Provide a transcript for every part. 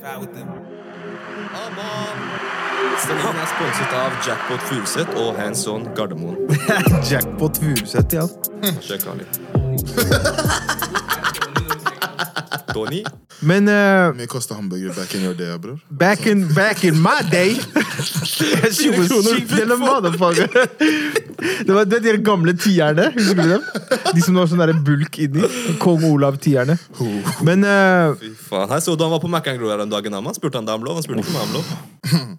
Fry with them. Stemmen er sponset av Jackpot Furuset og Hands On Gardermoen. Jackpot Furuset, ja. Sjekk han litt. Tony, Men eh, mye kosta hamburger back in your day, bror? back, in, back in my day She was cheap little motherfucker. Det var det de gamle tierne. Husker du dem? De som var sånn der bulk inni. Kong Olav-tierne. Men Oh. eh, fy faen. Her så du han var på McAngro her om dagen. Han spurte han deg om lov. Han spurte ikke meg om lov.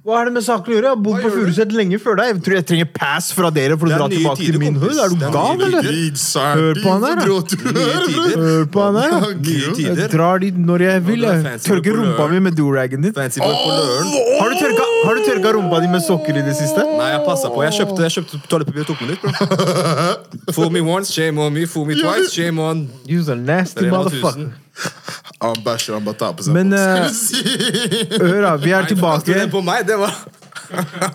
hva har det med saken å gjøre? Jeg har bodd på Furuset lenge før deg. Jeg tror jeg trenger pass fra dere for Det å er dra nye tilbake tider, til min kompis. hud. Er Det du er gal, nye eller? Hør på han her, da. Nye tider. Hør på han her, da. Nye da. Jeg tider. drar dit når jeg vil. du er jeg. fancy Tørker på rumpa lørdag. mi med do-ragen din. Fancy boy på løren. Har du, tørka, har du tørka rumpa di med sokker i det siste? Nei, jeg passa på. Jeg kjøpte, jeg kjøpte toalettpapir og tok med nytt. bro. Fool me once, shame on me. Fool me twice, shame on You's a nasty Rema motherfucker. 1000. Han bæsjer, han bare tar på seg Men, eh, boksen. Si. Hør, da. Vi er Kaster tilbake. den på meg, det var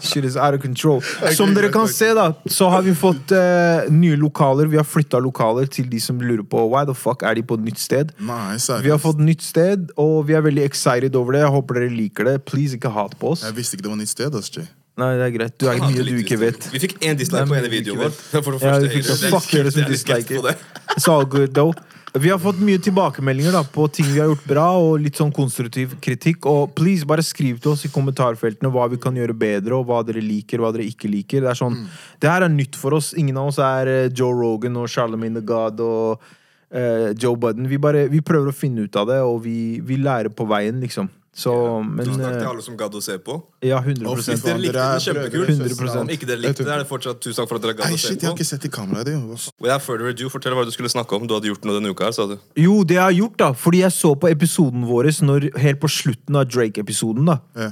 Shit is out of control. Som dere kan se, da, så har vi fått eh, nye lokaler. Vi har flytta lokaler til de som lurer på why the fuck er de på et nytt sted. Nei, Vi har seriøst. fått nytt sted, og vi er veldig excited over det. Jeg håper dere liker det. Please, ikke hat på oss. Jeg visste ikke det var nytt sted. ass, Jay. Nei, det er greit. Du er mye du ikke vet. Vi fikk én dislike på Nei, ene men videoen ikke vår. vet. For det Ja, første, vi fikk jeg- så fuck dere som jeg er litt skeptisk på disliker. det. It's all good, though. Vi har fått mye tilbakemeldinger da, på ting vi har gjort bra, og litt sånn konstruktiv kritikk. Og please, bare skriv til oss i kommentarfeltene hva vi kan gjøre bedre, og hva dere liker, hva dere ikke liker. Det er sånn, Mm. det her er nytt for oss. Ingen av oss er eh, Joe Rogan og Charlemagne the God og eh, Joe Budden. Vi, bare, vi prøver å finne ut av det, og vi, vi lærer på veien, liksom. Så, men Tusen takk til eh, alle som gadd å se på. Ja, Hvis 100 dere likte den, kjempekult. 100%. Om ikke dere likte den, er det fortsatt tusen takk for at dere gadd Nei, å se shit, jeg har på. ikke sett i kameraet. Det, ass. Without further ado, fortell hva du skulle snakke om. Du hadde gjort noe denne uka altså. her, sa du. Jo, det jeg har gjort, da. Fordi jeg så på episoden vår når, helt på slutten av Drake-episoden. da Ja.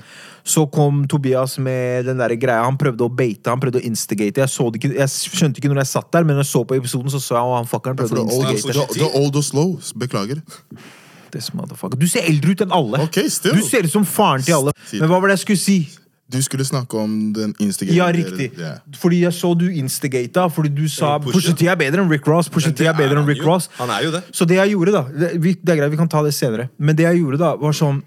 Så kom Tobias med den der greia. Han prøvde å beite, han prøvde å instigate. Jeg, så det ikke, jeg skjønte ikke når jeg satt der, men når jeg så på episoden, så så jeg at han fuckeren prøvde For å the old, instigate. the, the old og slow. Beklager. This motherfucker. Du ser eldre ut enn alle! Ok, still. Du ser ut som faren til alle. Still. Men hva var det jeg skulle si? Du skulle snakke om den Instagram Ja, riktig. Ja. Fordi jeg så du instigata. Fordi du sa Pusha. Pusha T er bedre enn Rick Ross. Pusha Men T det er bedre er enn han Rick jo. Ross. Han er jo det. Så det jeg gjorde, da Det, vi, det er greit, vi kan ta det senere. Men det jeg gjorde, da, var sånn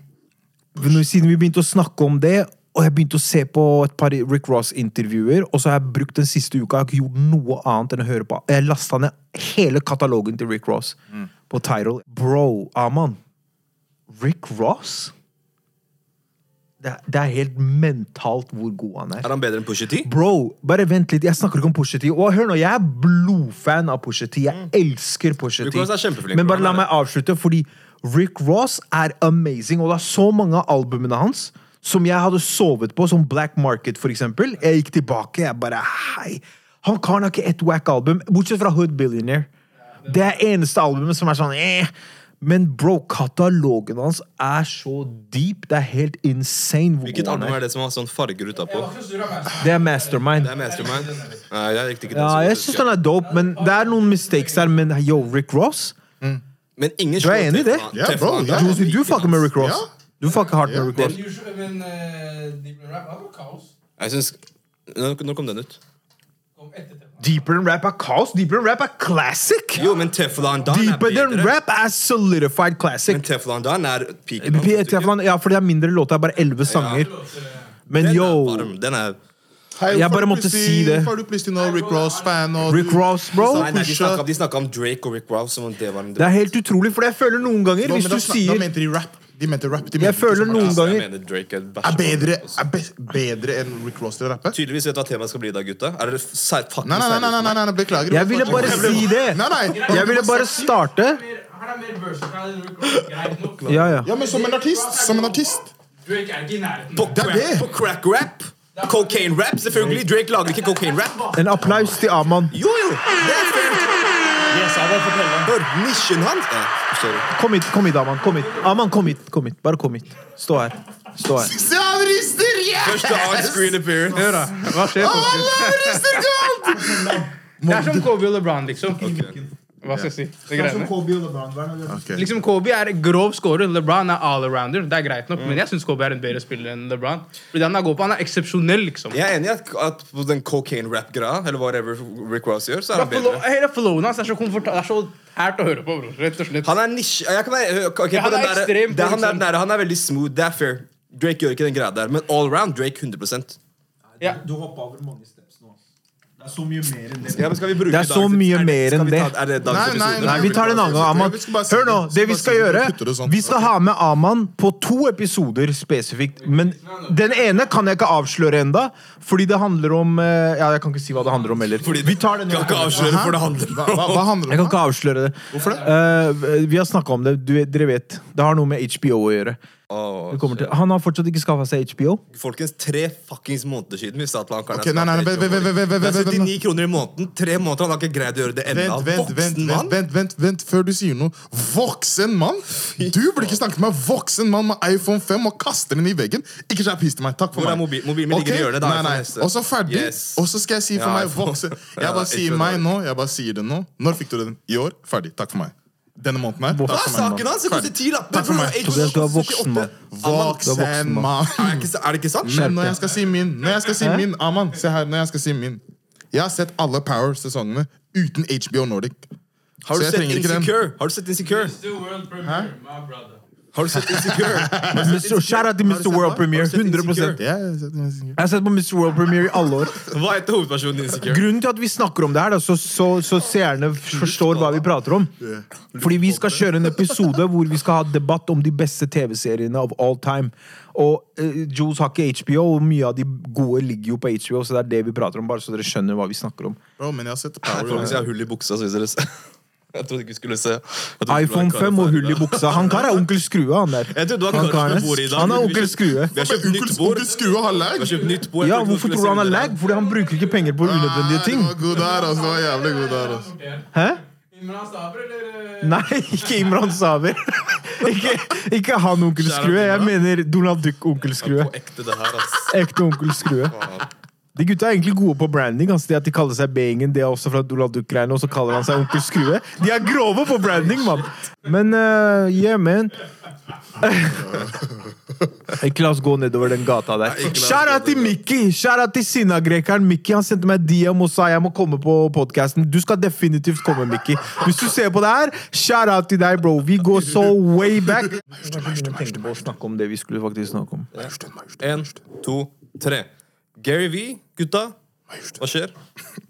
når, Siden vi begynte å snakke om det, og jeg begynte å se på et par Rick Ross-intervjuer, og så har jeg brukt den siste uka Jeg har ikke gjort noe annet enn å høre på Jeg lasta ned hele katalogen til Rick Ross Mm. på Tidal. Bro, Aman. Rick Ross? Det, er- det er helt mentalt hvor god han er. Er han bedre enn Pusha T? Bro, bare vent litt. Jeg snakker ikke om Pusha T. Og hør nå, jeg er blodfan av Pusha T. Mm. Jeg elsker Pusha Rick T. Ross er kjempeflink, Men bro. bare la Han er meg avslutte, fordi Rick Ross er amazing, og det er så mange av albumene hans som jeg hadde sovet på, som Black Market, for eksempel. Jeg gikk tilbake, jeg bare hei. Han karen har ikke ett wack album, bortsett fra Hood Billionaire. Det er eneste albumet som er sånn eh. Men bro, katalogen hans er så deep. Det er helt insane hvor Hvilket god han album er. er det som har sånn farger utapå? Det er mastermind. Det er Mastermind. Nei, jeg likte ikke den. Ja, så jeg godt, syns husker den er dope, men det er noen mistakes her. Men yo, Rick Ross? Men ingen Du er enig i det? Teflon- Ja, bro, Teflon- ja. Du, du fucker med Rick Ross. Ja. Du fucker hardt med Rick Ja. Ross. Usually, men eh, Deep Rap er noe kaos. Jeg synes... Nå nå kom den ut. Kom etter det. Deeper than rap er kaos. Deeper than rap er classic. Jo, men Teflon Dan er Deeper than bedre. rap er solidified Men classic. Teflon Dan er piken. Vi er Teflon, ja, for det er mindre låter. Det er bare elleve sanger. Altså, Men Den er yo, varm. Den er Hei, Jeg får bare du måtte plutselig- si det. får du plutselig nå Rick Ross-fan og Rick Ross, bro. Nei, nei, de Pusha. snakka, de snakka om Drake og Rick Ross som om det var en Det er helt utrolig, for jeg føler noen ganger Nå, men Hvis da du snak- Da sier mente de rap. De mente rap. De mente Jeg ikke føler sånn- noen Altså, jeg ganger mener Drake er altså. Er bæsj- bedre, er best, bedre enn Rick Ross til å rappe? Tydeligvis vet du hva temaet skal bli i dag, gutta. Er dere sær- fucking Nei, nei, nei, nei, nei, seriøse? nei, nei, beklager. Jeg ville bare si det. Nei, nei. Jeg ville bare starte. Han er mer versatile enn Rick Ross. Greit nok. Ja, ja. Ja, men som en artist. Som en artist. Drake er ikke i nærheten. På Det er crack, det. på crack rap. Cocaine rap, selvfølgelig. Drake lager ikke cocaine rap. En applaus til Aman. Jo, jo! Det er fair. Hør, nisjen hans ja, Sorry. Kom hit, kom hit, Aman. Kom hit. Aman, kom hit. kom hit. Bare kom hit. Stå her. Stå her. Se, han rister! Yes! Første on-screen appearance. Hør da, hva skjer? Alle rister godt! Det er som Kobe og LeBron, liksom. Hva skal jeg si? Det greiene. Kobe og LeBron var. når de- Ok. Liksom Kobe er grov scorer, LeBron er all-arounder. Det er greit nok, men jeg syns Kobe er en bedre spiller enn LeBron. Fordi han er god på, han er eksepsjonell, liksom. Jeg er enig i at, at på den cocaine rap-greia, eller whatever Rick Ross gjør, så er Bare han flow- bedre. Hele flowen hans er så komfortabel. Det er så hært å høre på, bror. Rett og slett. Han er nisje... Jeg kan være, ok, på han den er der, ekstrem på det, han, er, liksom- den der, han er veldig smooth. Det er fair. Drake gjør ikke den greia der, men all round Drake 100 Ja. Du hoppa over mange steps nå. Det er så mye mer enn ja, men skal vi bruke Det er så dagens- mye er mer skal enn vi ta- det. Er det dagens Nei, nei, episode? nei. Nei, vi tar det en annen gang. Aman. Vi skal bare si Hør nå, det. det vi Vi skal skal bare si det. gjøre Putter det sånn. Vi skal ha med Aman på to episoder spesifikt. Men den ene kan jeg ikke avsløre enda fordi det handler om eh, Ja, jeg kan ikke si hva det handler om heller. Fordi Vi tar den Kan ikke avsløre for det handler Hva, hva, hva handler Jeg kan det om? ikke avsløre det. Hvorfor det? Eh, vi har snakka om det. Du, vet- dere vet. Det har noe med HBO å gjøre. Åh, Vi kommer til, han har fortsatt ikke skaffa seg HBO. Folkens, tre fuckings måneder siden vi sa til han Karnes Ok, nei, nei, nei, vent, vent, vent, vent, vent, Det er vent, vent. 79 kroner i måneden. Tre måneder, han har ikke greid å gjøre det ennå. Vent, vent, vent, Voksen vent, mann! vent, vent, vent, før du sier noe. Voksen mann? Du burde ikke snakke med en voksen mann med iPhone 5 og kaste den i veggen. Ikke skjerp hiss til meg. Takk for Hvor er meg. mobil- mobilen min ligger i Ok? hjørnet, da er Nei, iPhone nei. neste. Og så ferdig. Yes. Og så skal jeg si for Ja, meg iPhone. voksen. Ja, Jeg bare ikke sier det. meg nå. Jeg bare sier det nå. Når fikk du den? I år? Ferdig. Takk for meg. Denne måneden her. Hva Hva Takk er for meg. saken hans? Det koster ti lapper! Takk for meg. Tobias, du er voksen mann. Du er Voksen voksen mann. mann. Ah, Er, ikke- er det ikke sant? Men når jeg skal si min, når jeg skal si Hæ? min Aman, se her, når jeg skal si min Jeg har sett alle Power-sesongene uten HBO Nordic. Har du Så jeg sett trenger ikke den. Insecure? Har du sett Insecure? Still world premiere, my brother. Har du sett Insecure? Mr. Shout out til du Mr. sett World hva? Premiere. Har du sett 100 Insecure? Jeg Ja, jeg har sett den. har sett på Mr. World Premiere i alle år. Hva heter hovedpersonen i Insecure? Grunnen til at vi snakker om det her, da, så, så, så seerne forstår hva vi prater om Fordi vi skal kjøre en episode hvor vi skal ha debatt om de beste TV-seriene of all time. Og eh, Jules har ikke HBO, og mye av de gode ligger jo på HBO, så det er det vi prater om, bare så dere skjønner hva vi snakker om. Bro, men jeg har sett Nei, Power. folkens, jeg har hull i buksa, så hvis dere ser Jeg trodde ikke vi skulle se. Jeg trodde det var iPhone 5 og hull i buksa. Han kar er onkel Skrue, han der. Jeg trodde det var Han Karl karen- som bor i dag. Han er onkel Skrue. Vi har kjøpt nytt bord. Onkel Skrue har Vi lag. har kjøpt nytt bord. Jeg Ja, trodde hvorfor vi tror du skulle han se har under lag? Fordi han bruker ikke penger på unødvendige ting. Ah, Det var god der, altså. Det var jævlig god der, altså. Hæ? Imran Sabri, eller? eh, Nei, ikke Imran Saber. ikke, ikke han onkel Kjære Skrue. Jeg Imran. mener Donald Duck-onkel den. Skrue. På ekte, det her, altså. ass. Ekte onkel Skrue. De gutta er egentlig gode på branding. Altså det At de kaller seg B-gjengen, det er også fra Donald Duck-greiene. Og så kaller han seg onkel Skrue. De er grove på branding, mann! Men eh, yeah, man. Ikke la oss gå nedover den gata der. Nei, ikke la oss Skjæra gå til nedover. Mikki! Skjæra til sinnagrekeren Mikki. Han sendte meg DM og sa jeg må komme på podkasten. Du skal definitivt komme, Mikki. Hvis du ser på det her, skjæra til deg, bro. Vi går så way back. Jeg tenkte på å snakke om det vi skulle faktisk snakke om. En, to, tre. Gary V, gutta. Hva skjer?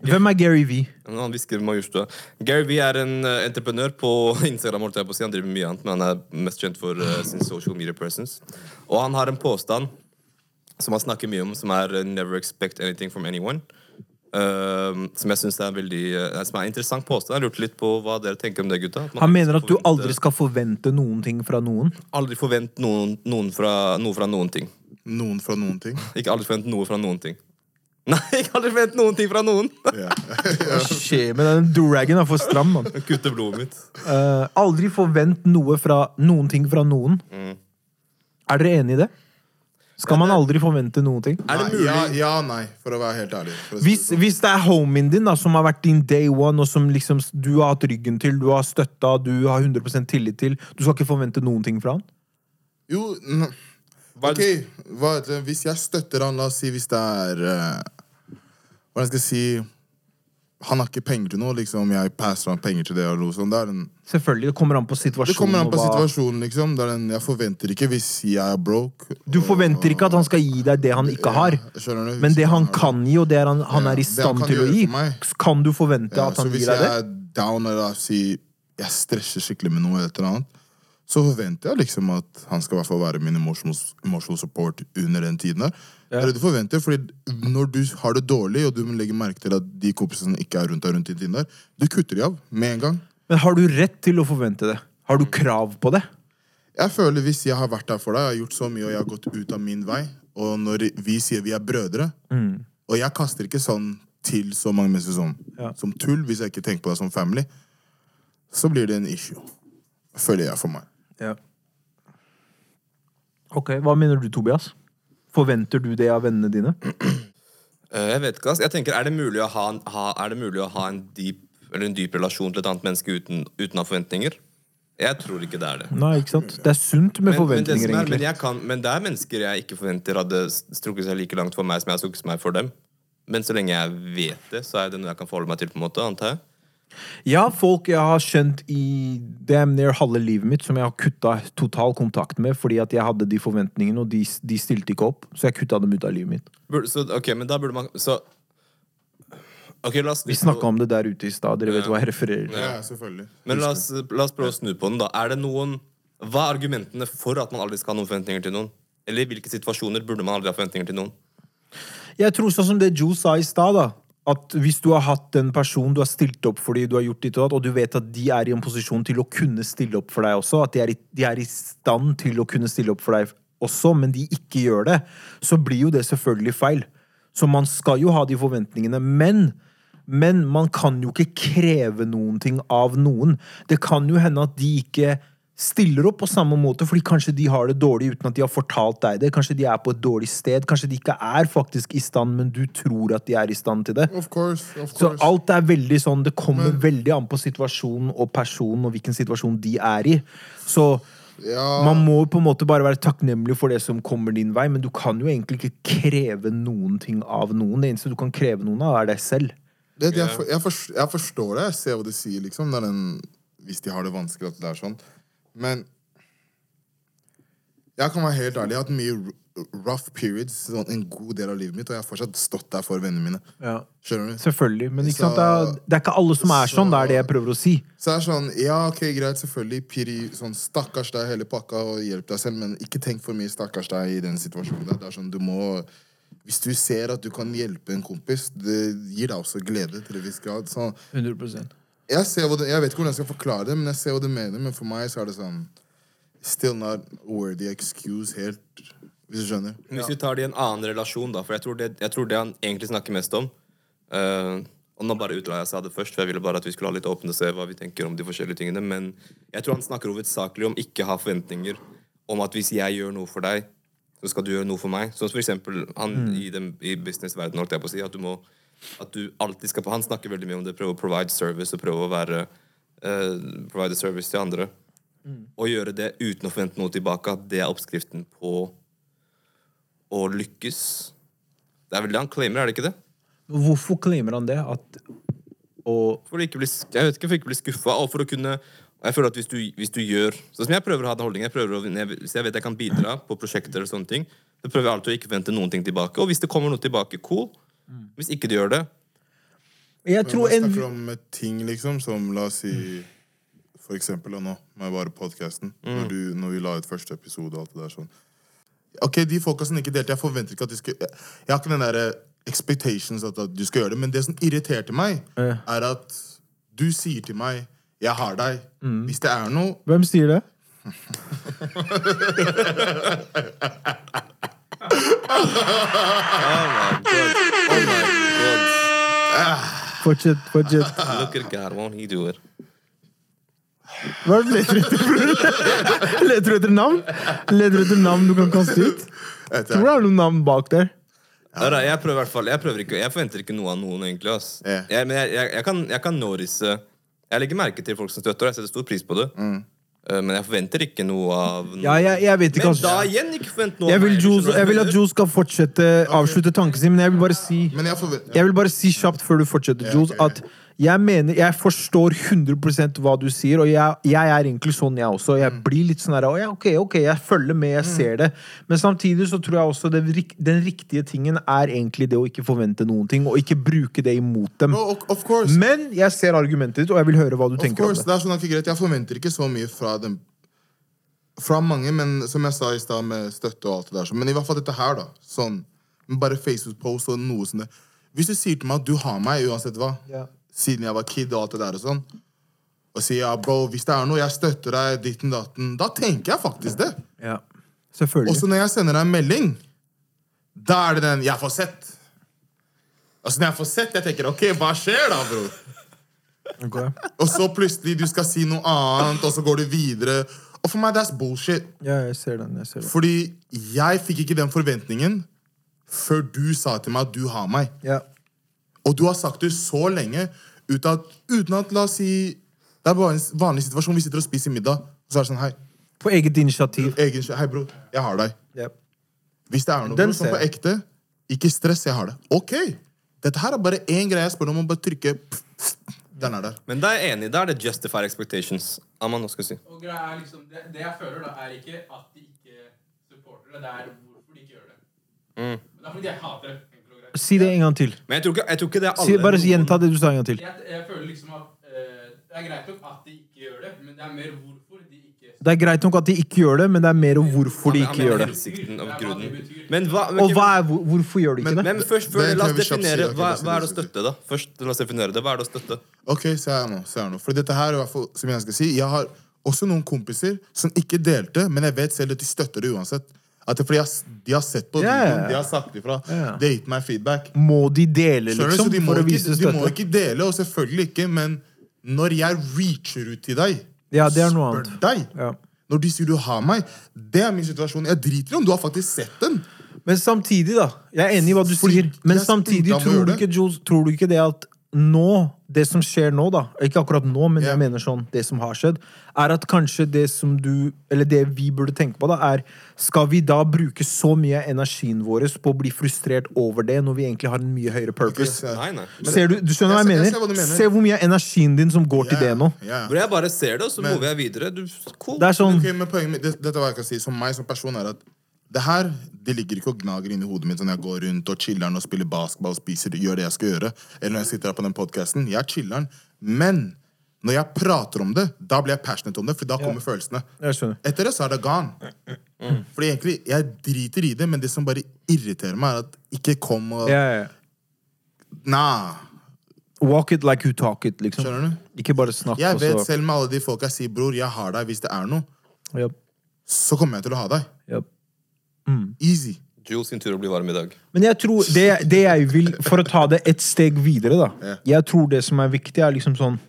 Hvem er Gary V? Men Han hvisker majorstua. Gary V er en eh, entreprenør på Instagram. holdt jeg på å si. Han driver med mye annet, men han er mest kjent for eh, sin social media presence. Og han har en påstand som han snakker mye om, som er eh, 'never expect anything from anyone'. Ehm, som jeg synes er en veldig eh, Som er en interessant påstand. Jeg lurte litt på hva dere tenker om det, gutta. At man Han mener at du forventer- aldri skal forvente noen ting fra noen. aldri forvent noen, noen fra, noe fra noen ting. Noen fra noen ting. Ikke aldri forvent noe fra noen ting. Nei, ikke aldri forvent noen ting fra noen! Ja. Hva skjer med den duragen? er for stram, mann. Kutte blodet mitt. Eh, aldri forvent noe fra noen ting fra noen. Mm. Er dere enig i det? Skal man aldri forvente noen ting? Er det Nei, mulig? Ja, ja, nei, for å være helt ærlig. For å si Hvis, det sånn. hvis det er homien din da, som har vært din day one, og som liksom s- du har hatt ryggen til, du har støtta, du har 100 tillit til Du skal ikke forvente noen ting fra han? sånn. Jo, n- Hva er ok, det- hva heter det? Hvis jeg støtter han, la oss si hvis det er eh, Hva skal jeg si Han har ikke penger til noe, liksom. Jeg passer han penger til det, eller noe sånt. Det er en Selvfølgelig, Det kommer an på situasjonen. Det kommer an og på hva- situasjonen, liksom. Det er den, jeg forventer ikke hvis jeg er broke. Du forventer ikke at han skal gi deg det han ikke har. Ja, skjønner du? Men det Hvis han Mm. har kan gi, og det han, han Ja, er i det han stand kan til å gjøre gi, for meg. kan du forvente at Eh, så han hvis gir deg det? jeg er down eller si, jeg stresser skikkelig med noe, eller et eller annet, så forventer jeg liksom at han skal i hvert fall være min emotional, emotional support under den tiden. der. Det er det du forventer, fordi når du har det dårlig, og du legger merke til at de kompisene ikke er rundt deg rundt den tiden der, du kutter de av med en gang. Men har du rett til å forvente det? Har du Mm. krav på det? Jeg føler hvis jeg har vært der for deg, jeg har gjort så mye, og jeg har gått ut av min vei, og når vi sier vi er brødre, og jeg kaster ikke sånn til så mange mennesker som, Ja. som tull, hvis jeg ikke tenker på deg som family, så blir det en issue. Føler jeg for meg. Ok, Hva mener du, Tobias? Forventer du det av vennene dine? Eh, Jeg vet ikke, ass. Jeg tenker, er det mulig å ha en, ha, er det mulig å ha en deep eller en dyp relasjon til et annet menneske uten, uten å ha forventninger. Jeg tror ikke det er det. Nei, ikke sant? Det er sunt med Men, men, det, forventninger, som er, men, egentlig. jeg kan, men det er mennesker jeg ikke forventer hadde strukket seg like langt for meg som jeg har strukket meg for dem. Men så lenge jeg vet det, så er det noe jeg kan forholde meg til, på en måte, antar jeg. Ja, folk jeg har skjønt i damn near halve livet mitt, som jeg har kutta total kontakt med fordi at jeg hadde de forventningene, og de, de stilte ikke opp. Så jeg kutta dem ut av livet mitt. Burde, så, ok, men da burde man Så Ok, la oss Vi snakka om det der ute i stad. Dere vet hva jeg refererer til. Ja, selvfølgelig. Men la oss, la oss prøve å snu på den, da. Er det noen Hva er argumentene for at man aldri skal ha noen forventninger til noen? Eller i hvilke situasjoner burde man aldri ha forventninger til noen? Jeg tror sånn som det Joe sa i stad, da. At hvis du har hatt en person du har stilt opp fordi du har gjort ditt og datt, og du vet at de er i en posisjon til å kunne stille opp for deg også, at de er, i, de er i stand til å kunne stille opp for deg også, men de ikke gjør det, så blir jo det selvfølgelig feil. Så man skal jo ha de forventningene, men men man kan jo ikke kreve noen ting av noen. Det kan jo hende at de ikke stiller opp på samme måte, fordi kanskje de har det dårlig uten at de har fortalt deg det. Kanskje de er på et dårlig sted, kanskje de ikke er faktisk i stand, men du tror at de er i stand til det. Of course. Of Så course. alt er veldig sånn, det kommer veldig an på situasjonen og personen og hvilken situasjon de er i. Så Ja. man må på en måte bare være takknemlig for det som kommer din vei, men du kan jo egentlig ikke kreve noen ting av noen. Det eneste du kan kreve noen av, er deg selv. Det, det, jeg, for, jeg, forstår, jeg forstår det. Jeg ser hva du sier, liksom. Når den, hvis de har det vanskelig, at det er sånn. Men jeg kan være helt ærlig. Jeg har hatt mye r- rough periods sånn, en god del av livet mitt, og jeg har fortsatt stått der for vennene mine. Ja. Skjønner du? Selvfølgelig, men ikke Så- sant? Det, er, det er ikke alle som er sånn, det er det jeg prøver å si. Så det er sånn Ja, ok, greit, selvfølgelig. Piri, sånn, stakkars deg, hele pakka, og hjelp deg selv, men ikke tenk for mye stakkars deg i den situasjonen der. Det er sånn, du må Hvis du ser at du kan hjelpe en kompis, det gir deg også glede til en viss grad. Sånn jeg, ser hva du, jeg vet ikke hvordan jeg skal forklare det, men jeg ser hva du mener. Men for meg så er det sånn Still not worthy excuse helt, hvis du skjønner. Hvis vi tar det i en annen relasjon, da, for jeg tror det, jeg tror det han egentlig snakker mest om eh, Og nå bare utla jeg seg det først, for jeg ville bare at vi skulle ha litt åpne og se hva vi tenker om de forskjellige tingene, men jeg tror han snakker hovedsakelig om ikke ha forventninger om at hvis jeg gjør noe for deg, så skal du gjøre noe for meg. Sånn som for eksempel han i, den, i businessverdenen, holdt jeg på å si, at du må at du alltid skal Han snakker veldig mye om det, prøve å provide service og prøve å være eh, provide service til andre. Å gjøre det uten å forvente noe tilbake, at det er oppskriften på å lykkes. Det er vel det han claimer, er det ikke det? Hvorfor claimer han det? At, og, For å ikke bli, jeg vet ikke, for ikke å bli skuffa, og for å kunne og jeg føler at hvis du, hvis du gjør Sånn som jeg prøver å ha den holdningen jeg prøver å, når jeg- Hvis jeg vet jeg kan bidra på prosjekter og sånne ting, så prøver jeg alltid å ikke vente noen ting tilbake. Og hvis det kommer noe tilbake, cool. Hvis ikke du gjør det jeg tror Men en man snakker om eh, ting, liksom, som la oss si For eksempel, og nå må jeg bare podkasten. Mm. Når, du- når vi la ut første episode og alt det der sånn. Ok, de folka som ikke delte, jeg forventer ikke at de skal Jeg, jeg har ikke den derre expectations at, at du skal gjøre det, men det som irriterte meg, er at du sier til meg 'jeg har deg'. Mm. Hvis det er noe, Hvem sier det? Oh my god. Oh my Fortsett, fortsett. god. Look at God, won't he do it? Hva er det du leter etter, bror? Leter du etter navn? Leter du etter navn du kan kaste ut? Tror det er noen navn bak der. Alright, jeg prøver i hvert fall Jeg, prøver ikke, jeg forventer ikke noe av noen, egentlig. Ass. Ja. Jeg, men jeg, jeg, jeg kan, jeg kan norise Jeg legger merke til folk som støtter, og jeg setter stor pris på det. Eh, Men jeg forventer ikke noe av noen. Ja, jeg, jeg vet ikke, Men da altså. igjen, ikke forvent noe Jeg av vil, meg, Jules- skjønner du hva jeg vil at mener? Joe skal fortsette avslutte tanken sin, men jeg vil bare si Men jeg forventer Jeg vil bare si kjapt før du fortsetter, Jules, at jeg mener, jeg forstår 100 hva du sier, og jeg, jeg er egentlig sånn, jeg også. Jeg blir litt sånn her, «Å ja, ok, ok, jeg følger med, jeg ser det. Men samtidig så tror jeg også det, rik- den riktige tingen er egentlig det å ikke forvente noen ting, og ikke bruke det imot dem. No, of- of course. Men jeg ser argumentet ditt, og jeg vil høre hva du Of tenker om course, det. det er sånn at ikke greit. Jeg forventer ikke så mye fra dem. Fra mange, men som jeg sa i stad, med støtte og alt det der. så- Men i hvert fall dette her, da. Sånn, bare Facebook-post og noe sånt. der. Hvis du sier til meg at du har meg uansett hva, Ja. siden jeg var kid og alt det der og sånn, og sier ja, bro, hvis det er noe, jeg støtter deg, ditten datten, da tenker jeg faktisk det. Ja, selvfølgelig. Også når jeg sender deg en melding, da er det den 'jeg får sett'. Altså, når jeg får sett, jeg tenker 'ok, hva skjer da, bror'? Ok. Og så plutselig du skal si noe annet, og så går du videre. Og for meg, that's bullshit. Ja, jeg ser den, jeg ser den. Fordi jeg fikk ikke den forventningen før du sa til meg at du har meg. Ja. Og du har sagt det så lenge Uten at, uten at, la oss si Det er bare en s- vanlig situasjon. Vi sitter og spiser middag, og så er det sånn Hei, På eget initiativ. egen, hei bro, jeg har deg. Yep. Hvis det er noe Den bro, sånn ser på jeg. ekte, ikke stress, jeg har det. Ok! Dette her er bare én greie jeg spør om, og bare trykke Den er der. Men da er jeg enig. Da er det justified expectations. Aman, hva skal du si? Og greia er liksom, det, det jeg føler, da, er ikke at de ikke supporter det. Det er hvorfor de ikke gjør det. Mm. Men det er fordi de hater det. enkelt og greit. Si det en gang til. Men jeg tror ikke, jeg tror ikke det er alle Si, bare noen- gjenta det du sa en gang til. Jeg, jeg føler liksom at eh, det er greit nok at de ikke gjør det, men det er mer hvorfor de ikke Det er greit nok at de ikke gjør det, men det er mer om hvorfor de Han ikke mener gjør det. hensikten Det og er hva det grunnen. betyr. Men hva, men, Og hva er, hvor- hvorfor gjør de ikke det? men først, Det før, tror la oss jeg vi kjapt definere sier, hva, ok, hva er det å det er støtte, da? Først, la oss definere det. Hva er det å støtte? Ok, se her nå. Se her nå. For dette her, er i hvert fall, som jeg skal si, jeg har også noen kompiser som ikke delte, men jeg vet selv at de støtter det uansett. At det er fordi jeg, s- de har sett Ja, på ja, videoen, ja. de har sagt ifra. Ja. Det har gitt meg feedback. Må de dele, Skjønner du? liksom? så de må, For å ikke, vise de må støtte? ikke dele, og selvfølgelig ikke, men når jeg reacher ut til deg, Ja, det er noe spør annet. deg Ja. Når de sier du har meg, det er min situasjon. Jeg driter i om du har faktisk sett den. Men samtidig, da. Jeg er enig i hva du Fordi sier. Men jeg samtidig, spurte om å tror gjøre du, det. ikke, Jules, tror du ikke det at nå Det som skjer nå, da. Ikke akkurat nå, men Ja. jeg mener sånn det som har skjedd. Er at kanskje det som du Eller det vi burde tenke på, da, er Skal vi da bruke så mye av energien vår på å bli frustrert over det, når vi egentlig har en mye høyere purpose? Ikke- Nei, nei. Men, Ser du, du skjønner hva jeg Jeg mener? ser- jeg ser hva du mener. Se hvor mye av energien din som går til det nå. Ja. hvor jeg bare ser det, og så Men- mover jeg videre. Du, cool. Det er sånn Ok, men poenget mitt, det, dette er hva jeg kan si som meg som person, er at det her det ligger ikke og gnager inni hodet mitt når jeg går rundt og chiller'n og spiller basketball og spiser, gjør det jeg skal gjøre. Eller når jeg sitter her på den podkasten. Jeg chiller'n. Men når jeg prater om det, da blir jeg passionate om det, for da kommer følelsene. Jeg skjønner. Etter det så er det gone. Mm, Fordi egentlig, jeg driter i det, men det som bare irriterer meg, er at ikke kom og ja, ja. Nah. Walk it like you talk it, liksom. Skjønner du? Ikke bare snakk, Jeg og så vet selv med alle de folka jeg sier 'bror, jeg har deg hvis det er noe', Japp, så kommer jeg til å ha deg. japp. Easy. Jules sin tur å bli varm i dag. Men jeg tror det, det jeg vil, for å ta det et steg videre, da Ja. Jeg tror det som er viktig, er liksom sånn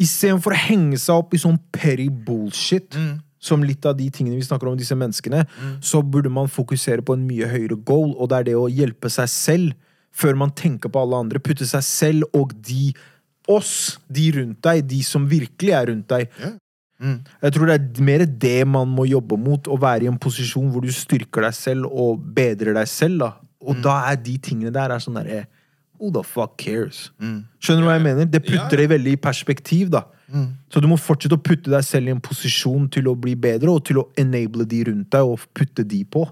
Istedenfor å henge seg opp i sånn petty bullshit, som litt av de tingene vi snakker om, disse menneskene, så burde man fokusere på en mye høyere goal, og det er det å hjelpe seg selv før man tenker på alle andre. Putte seg selv og de oss, de rundt deg, de som virkelig er rundt deg. Jeg tror det er mer det man må jobbe mot, å være i en posisjon hvor du styrker deg selv og bedrer deg selv. da. Mm. Og da er de tingene der er sånn derre Who the fuck cares? Skjønner du hva jeg mener? Det Mm. Ja, Mm. ja. putter det veldig i perspektiv. da. Så du må fortsette å putte deg selv i en posisjon til å bli bedre, og til å enable de rundt deg, og putte de på.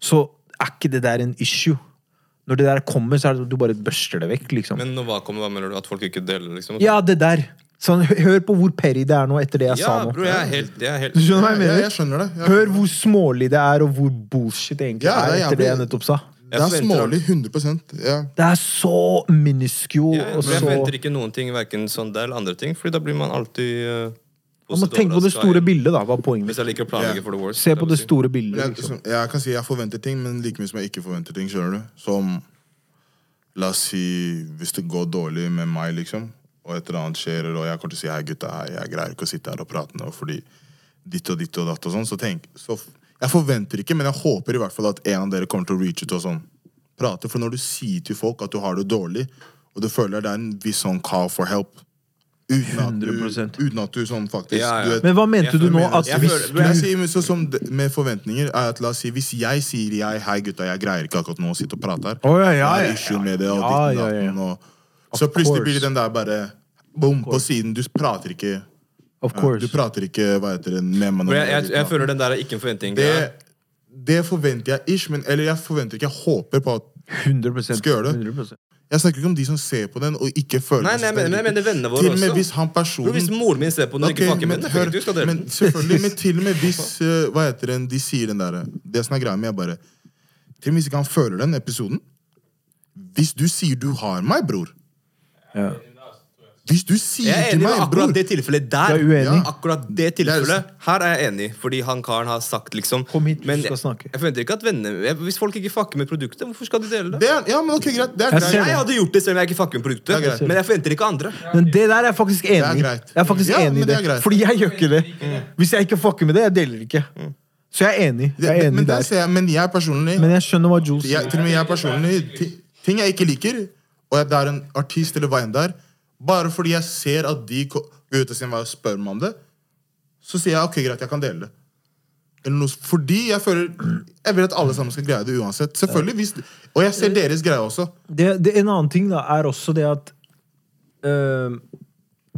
Så er ikke det der en issue. Når det der kommer, så er det at du bare børster det vekk. liksom. Men nå, hva kommer, hva mener du? At folk ikke deler, liksom? Ja, det der. Sånn, hø- hør på hvor perry det er nå, etter det jeg sa Ja, nå. bro, jeg er helt, jeg er helt Du skjønner hva jeg Jeg, mener? jeg, jeg skjønner det. Jeg, Hør hvor smålig det er, og hvor bullshit det egentlig Ja, er, det er etter det jeg jævlig. nettopp sa. Det er Jeg smålig. 100 ja. Det er så minuscule, Ja, ja, og for jeg forventer så ikke noen ting, hverken sånn der eller andre ting, Fordi da blir man alltid eh, Man må positivt tenke på det overrasket. store bildet, da. Hva er poenget Hvis jeg liker å planlegge Ja. for the worst. Se på vil det si. store Men bildet, Jeg, liksom. som, jeg kan si jeg forventer ting, men like mye som jeg ikke forventer ting. skjønner du? Som La oss si hvis det går dårlig med meg, liksom, og et eller annet skjer, og jeg kommer til å si hei, gutta, hei, jeg greier ikke å sitte her og prate nå fordi ditt og ditt og datt og sånn, så tenk så, f- Jeg forventer ikke, men jeg håper i hvert fall at en av dere kommer til å reach ut og sånn prate. For når du sier til folk at du har det dårlig, og du føler det er en viss sånn call for help Uten at du, 100%. uten at du sånn faktisk Ja, ja. Du vet, Men hva mente Jeg du nå? mener- At jeg hvis føler- du men jeg sier men så som d- med forventninger er at la oss si, Hvis jeg sier jeg, hei gutta, jeg greier ikke akkurat nå å sitte og prate her Å, ja, ja, Jeg ja, har issue med det og ja, ditten ja, ja. datten og Så plutselig blir course. det den der bare bom på siden. Du prater ikke Of Du course. prater ikke hva heter det, med meg. Bro, jeg, jeg, jeg føler den der er ikke en forventning. det, er- det forventer jeg ish, men eller jeg forventer ikke, jeg håper på at 100 Skal gjøre det. 100%. Jeg snakker ikke om de som ser på den og ikke føler Nei, seg nei, men, men jeg mener vennene våre Til og også. med hvis han Bro, hvis personen moren min ser på den og Mm. Ok, ikke fucker med men den, hør, jeg vet ikke du skal dele men den. selvfølgelig, men til og med hvis eh, Hva heter den, de sier den derre Det som er greia med, jeg bare Til og med hvis ikke han føler den episoden Hvis du sier du har meg, bror Hvis du Jeg sier er til enig med meg, akkurat bror det tilfellet der. Du er uenig? Ja, akkurat det tilfellet Her er jeg enig, fordi han karen har sagt liksom Kom hit, du Men skal jeg- snakke. Jeg forventer ikke at venner jeg- Hvis folk ikke fucker med produktet, hvorfor skal de dele det? det er, Ja, men ok, greit, det er Jeg greit ser Jeg det. hadde gjort det selv om jeg ikke fucker med Det er greit. produktet. Men jeg forventer ikke andre. Men det der er jeg faktisk enig i. Det er greit. Jeg er faktisk Ja, enig i men det er det. greit. Fordi jeg gjør ikke det. Hvis jeg ikke fucker med det, jeg deler ikke. Så jeg er enig. Jeg er Mm. Det- enig Men der der. ser jeg, men jeg personlig Men jeg skjønner hva Jules jeg, Til og med jeg personlig ti- Ting jeg ikke liker Og at det er en artist eller hva enn det er Bare fordi jeg ser at de ko- går ut av sin vei og spør meg om det, så sier jeg ok, greit, jeg kan dele det. Eller noe, s- fordi jeg føler Jeg vil at alle sammen skal greie det uansett. Selvfølgelig hvis, Og jeg ser deres greie også. det, det, en annen ting da, er også det at øhm,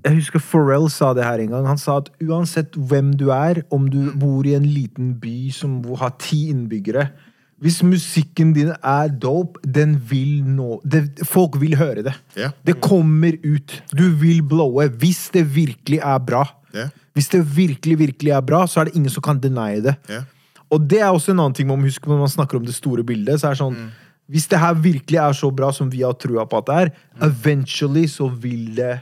Jeg husker Pharrell sa det her en gang. Han sa at uansett hvem du er, om du Mm. bor i en liten by som har ti innbyggere Hvis musikken din er dope, den vil nå det, Folk vil høre det. Ja. Det kommer ut. Du vil blowe hvis det virkelig er bra. Ja. Hvis det virkelig, virkelig er bra, så er det ingen som kan deny det. Ja. Og det er også en annen ting man må huske når man snakker om det store bildet. så er det sånn, Hvis det her virkelig er så bra som vi har trua på at det er, eventually så vil det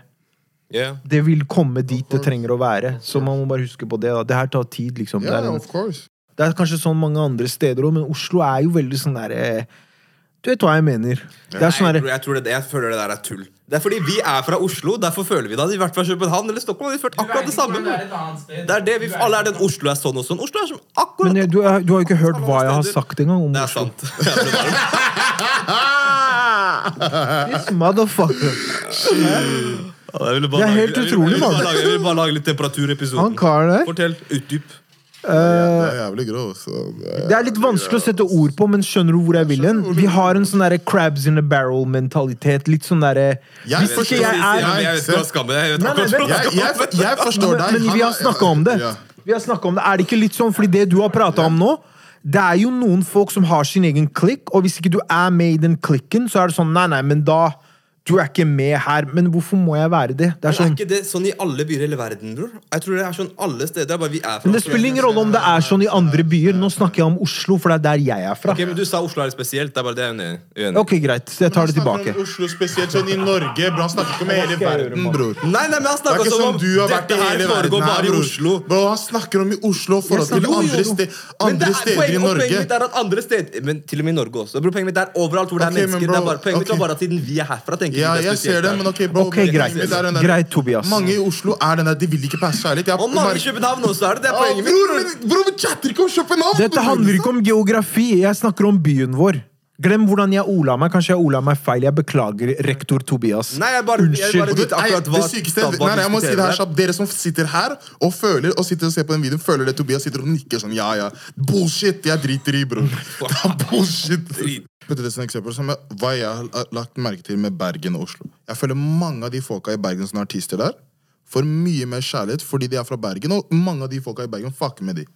Yeah. det vil komme dit det trenger å være. Så man må bare huske på det. da. Det her tar tid, liksom. Ja, det, er en, of course. det er kanskje sånn mange andre steder òg, men Oslo er jo veldig sånn derre Du vet hva jeg mener. Det er sånn Nei, jeg, derre tror, jeg, tror det, jeg føler det der er tull. Det er fordi vi er fra Oslo, derfor føler vi det. Hadde vi vært fra København eller Stockholm, hadde vi følt akkurat det samme. Det er et annet sted. Det er det vi, alle er den Oslo er sånn og sånn. Oslo er som akkurat Men jeg, du, er- du har jo ikke hørt hva jeg har sagt engang om Det er Oslo. sant. Ja, det var det. Ah! This motherfucker. Ja, jeg ville bare Det er lage- helt jeg ville- utrolig, jeg ville bare mann. lage- Jeg vil bare lage litt temperatur i episoden. Han karen der. Fortell. Utdyp. Det er jævlig grov. Så det Det er litt vanskelig å sette ord på, men skjønner du hvor jeg vil hen? Vi har en sånn derre crabs in a barrel-mentalitet. Litt sånn derre Jeg Hvis forstår- ikke jeg Ja, er men jeg vet ikke hva skammen er. Jeg vet Nei, nei, akkurat vent. hvor jeg, jeg, jeg forstår deg. Men, men Han vi er- har snakka om det. Ja. Vi har snakket om det. Er det ikke litt sånn, fordi det du har prata om nå det er jo noen folk som har sin egen klikk, og hvis ikke du er med i den klikken, så er det sånn Nei, nei, men da Du er ikke med her. Men hvorfor må jeg være det? Det Men er sånn er ikke det sånn i alle byer i hele verden, bror? Jeg tror det er sånn alle steder. det er Bare vi er fra Men det spiller ingen rolle om det er sånn i andre byer. Nå snakker jeg om Oslo, for det er der jeg er fra. Ok, men Du sa Oslo er litt spesielt. Det er bare det jeg er uenig i. Uenig i. Ok, greit. Så jeg tar det snakker om tilbake. Oslo spesielt sånn i Norge, bro. Han snakker ikke om skal hele jeg gjøre, verden, mann? bror. Nei, nei, men han Det er snakker ikke som som om du har vært i dette her hele verden foregår bare sånn- i bror. Oslo. Bro, han snakker om i Oslo i forhold Jeg til snakker- andre, Jo, jo, jo. ste Men det andre er- steder poenget- i og Poenget mitt Norge. er at andre steder Men til og med i Norge også. Bro, poenget mitt er overalt hvor det er Ok, men mennesker. bro, det er bare, poenget mitt ok. var bare at siden vi er herfra, tenker Ja, vi det er jeg ser spesielt. det, her. men ok, bro. Ok, greit. poenget mitt er den der- Greit, Tobias. Mange i Oslo er den der de vil ikke passe kjærlighet. Jeg Og mange i merker- København også er det. Det er Ja, poenget mitt. Bror, men- bror, vi chatter ikke om København! Dette bror. handler ikke om geografi. Jeg snakker om byen vår. Glem hvordan jeg ola meg. Kanskje jeg ola meg feil. Jeg beklager, rektor Tobias. Nei, jeg bare, jeg Unnskyld. bare vet Og det- nei, akkurat hva det sykeste nei, nei, jeg må si det her kjapt. Dere som sitter her og føler og sitter og ser på den videoen, føler det Tobias sitter og nikker sånn ja, ja. Bullshit! Jeg driter i, bror. Det er bullshit. Vet du det som et eksempel som jeg, Hva jeg har lagt merke til med Bergen og Oslo? Jeg føler mange av de folka i Bergen som er artister der, får mye mer kjærlighet fordi de er fra Bergen, og mange av de folka i Bergen fucker med de.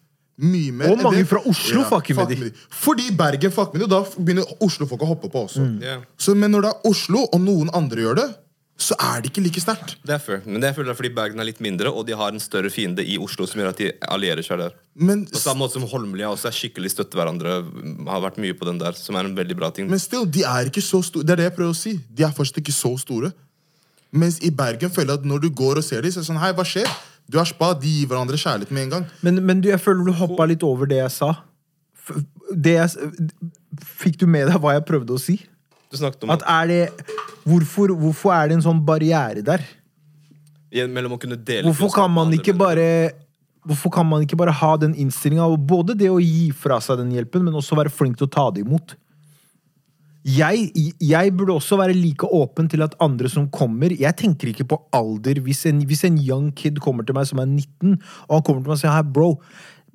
Mye mer Og enn mange det- fra Oslo fucker med de. Fordi Bergen fucker med de, og da begynner Oslo-folk å hoppe på også. Mm. Ja. Så, men når det er Oslo, og noen andre gjør det, så er det ikke like sterkt. Det er fair. Men det føler jeg fordi Bergen er litt mindre, og de har en større fiende i Oslo som gjør at de allierer seg der. Men, På samme måte som Holmlia også er skikkelig støtte hverandre. Har vært mye på den der, som er en veldig bra ting. men still, de er ikke så store. Det er det jeg prøver å si. De er fortsatt ikke så store. Mens i Bergen føler jeg at når du går og ser dem, så er det sånn Hei, hva skjer? Du er spa. De gir hverandre kjærlighet med en gang. Men, men du, jeg føler du hoppa litt over det jeg sa. F- Det jeg, s- fikk du med deg hva jeg prøvde å si? Du snakket om At er det, hvorfor, hvorfor er det en sånn barriere der? Ja, mellom å kunne dele Hvorfor kunnskap kan man med andre ikke mennesker. bare Hvorfor kan man ikke bare ha den innstillinga? Både det å gi fra seg den hjelpen, men også være flink til å ta det imot. Jeg, jeg burde også være like åpen til at andre som kommer Jeg tenker ikke på alder. Hvis en, hvis en young kid kommer til meg som er 19, og han kommer til meg og sier hei, bro,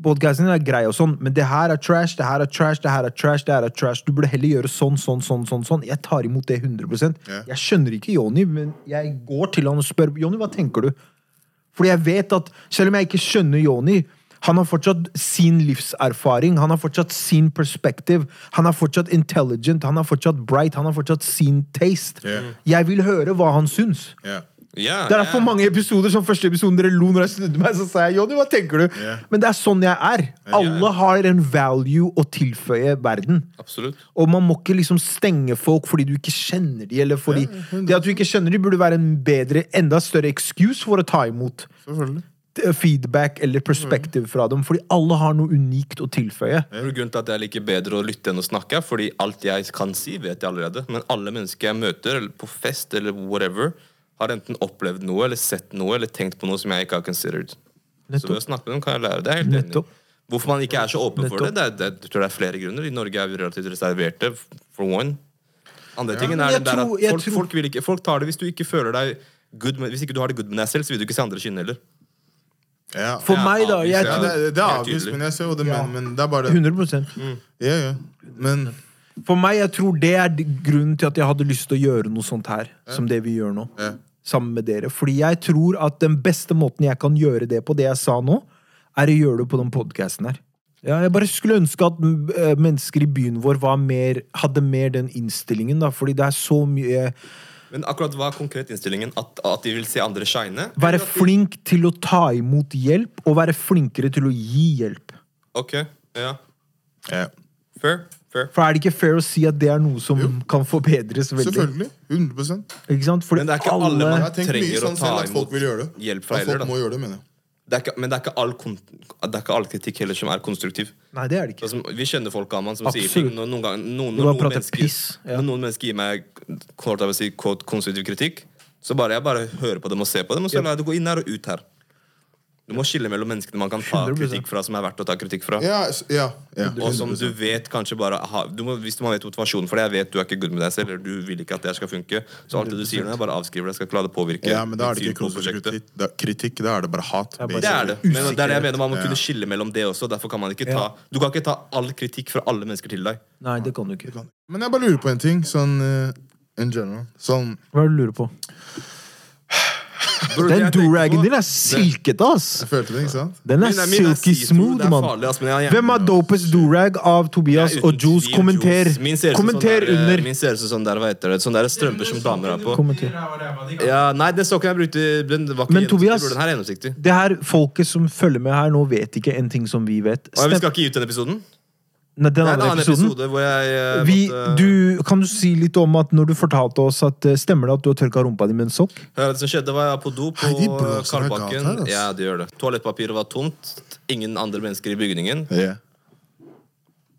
podcasten din er grei, og sånn, men det her er trash, det her er trash, det her er trash, det her er trash. Du burde heller gjøre sånn, sånn, sånn. sånn, sånn. Jeg tar imot det 100 Ja. Jeg skjønner ikke Jonny, men jeg går til han og spør Jonny, hva tenker du? Fordi jeg vet at selv om jeg ikke skjønner Joni, han har fortsatt sin livserfaring, han har fortsatt sin perspektiv, han er fortsatt intelligent, han er fortsatt bright, han har fortsatt sin taste. Ja. Jeg vil høre hva han syns. Ja, Det er derfor ja. mange episoder som første episoden dere lo når jeg snudde meg, så sa jeg Jonny, hva tenker du? Ja. Men det er sånn jeg er. Alle har en value å tilføye verden. Absolutt. Og man må ikke liksom stenge folk fordi du ikke kjenner de, eller fordi Det at du ikke kjenner de, burde være en bedre, enda større excuse for å ta imot Selvfølgelig. t- feedback eller perspektiv fra dem, fordi alle har noe unikt å tilføye. Det er jo grunnen til at jeg liker bedre å lytte enn å snakke, fordi alt jeg kan si, vet jeg allerede. Men alle mennesker jeg møter, eller på fest eller whatever, har enten opplevd noe, eller sett noe, eller tenkt på noe som jeg ikke har considered. Så ved å snakke med dem kan jeg lære. Det er jeg helt enig. Nettopp. i. Hvorfor man ikke er så åpen for det, Nettopp. det, er, det er, jeg tror det er flere grunner. I Norge er vi relativt reserverte, for one. Andre tingen men er jeg den der tror- at jeg folk, tror- folk vil ikke Folk tar det hvis du ikke føler deg good, men hvis ikke du har det good med deg selv, så vil du ikke se andre skinne heller. Ja. For Ja, meg, da. Jeg obvious, ja, det, tror er- det er Helt avvist, tydelig. men jeg ser hva du Ja. mener. Men det er bare det. 100 Ja, ja. Men For meg, jeg tror det er de- grunnen til at jeg hadde lyst til å gjøre noe sånt her. Som det vi gjør nå. Ja. Sammen med dere. Fordi jeg tror at den beste måten jeg kan gjøre det på, det jeg sa nå, er å gjøre det på den podkasten her. Ja, jeg bare skulle ønske at mm, eh, mennesker i byen vår var mer, hadde mer den innstillingen, da. Fordi det er så mye Men akkurat hva er konkret innstillingen? At, at de vil se andre shine? Være flink til å ta imot hjelp, og være flinkere til å gi hjelp. Ok, ja. ja. Fair. fair. For er det ikke fair å si at det er noe som kan forbedres veldig? Selvfølgelig. 100 Ikke sant? Fordi Men det er ikke alle man- Jeg har tenkt mye Trenger å sånn ta selv at folk imot vil gjøre det. hjelp fra At heller, folk da. må gjøre det, mener jeg. Det er ikke, men det er, ikke all kon- det er ikke all kritikk heller som er konstruktiv. Nei, det er det Sånn ikke. som- vi kjenner folk Aman, som Absolutt. sier ting når noen, gang, noen, Du når bare noen, prater mennesker, piss, ja. når noen mennesker gir meg kort av å si, quote, konstruktiv kritikk, så bare jeg bare hører på dem og ser på dem, og så lar jeg det gå inn her og ut her. Du må skille mellom menneskene man kan ta 100%. kritikk fra, som er verdt å ta kritikk fra. Ja, s- ja, ja. Og som du vet kanskje bare ha, du må, Hvis man vet motivasjonen for det, jeg vet du er ikke good med deg selv, eller du vil ikke at det her skal funke, så alt det du sier nå, jeg bare avskriver det. Jeg skal ikke la det påvirke ja, men da er det ditt ikke syn på konstruktiv prosjektet. kritikk. Da- kritikk. Da er det bare hat. er bare- Det er det. Men det er det jeg mener man må Ja. kunne skille mellom det også. Derfor kan man ikke ta Ja. Du kan ikke ta all kritikk fra alle mennesker til deg. Nei, det kan du ikke. Men jeg bare lurer på en ting, sånn eh, in general. Sånn Hva er det du lurer på? Bro, det Den jeg tenker do-ragen på- din er silkete, Jeg ass! følte det, ikke sant? Den er Min min silky see-through, smooth, det er mann. farlig, ass, men jeg- Hvem er dopest do-rag av Tobias Jeg er og uten Juice? tvil Kommenter! Juice. Min ser ut som Kommenter sånn der, eh, under! Min ser ut som sånn der, hva heter det, sånn der strømper som damer har på. Kommenter. Ja, nei, den så ikke jeg brukte. Den var ikke Men gjennomsiktig, Tobias- bror, Den her er gjennomsiktig. Det her folket som følger med her nå, vet ikke en ting som vi vet. Og vi Stem... skal ikke gi ut den episoden? Nei, den Nei, en andre annen episoden. episode hvor jeg eh, Vi, måtte- du, kan du si litt om at når du fortalte oss at eh, Stemmer det at du har tørka rumpa di med en sokk? Hør, Det som skjedde var jeg på do på Hei, de blåser meg Karlbakken. galt her, altså. ass. ja, det gjør det. Toalettpapiret var tomt. Ingen andre mennesker i bygningen. Ja.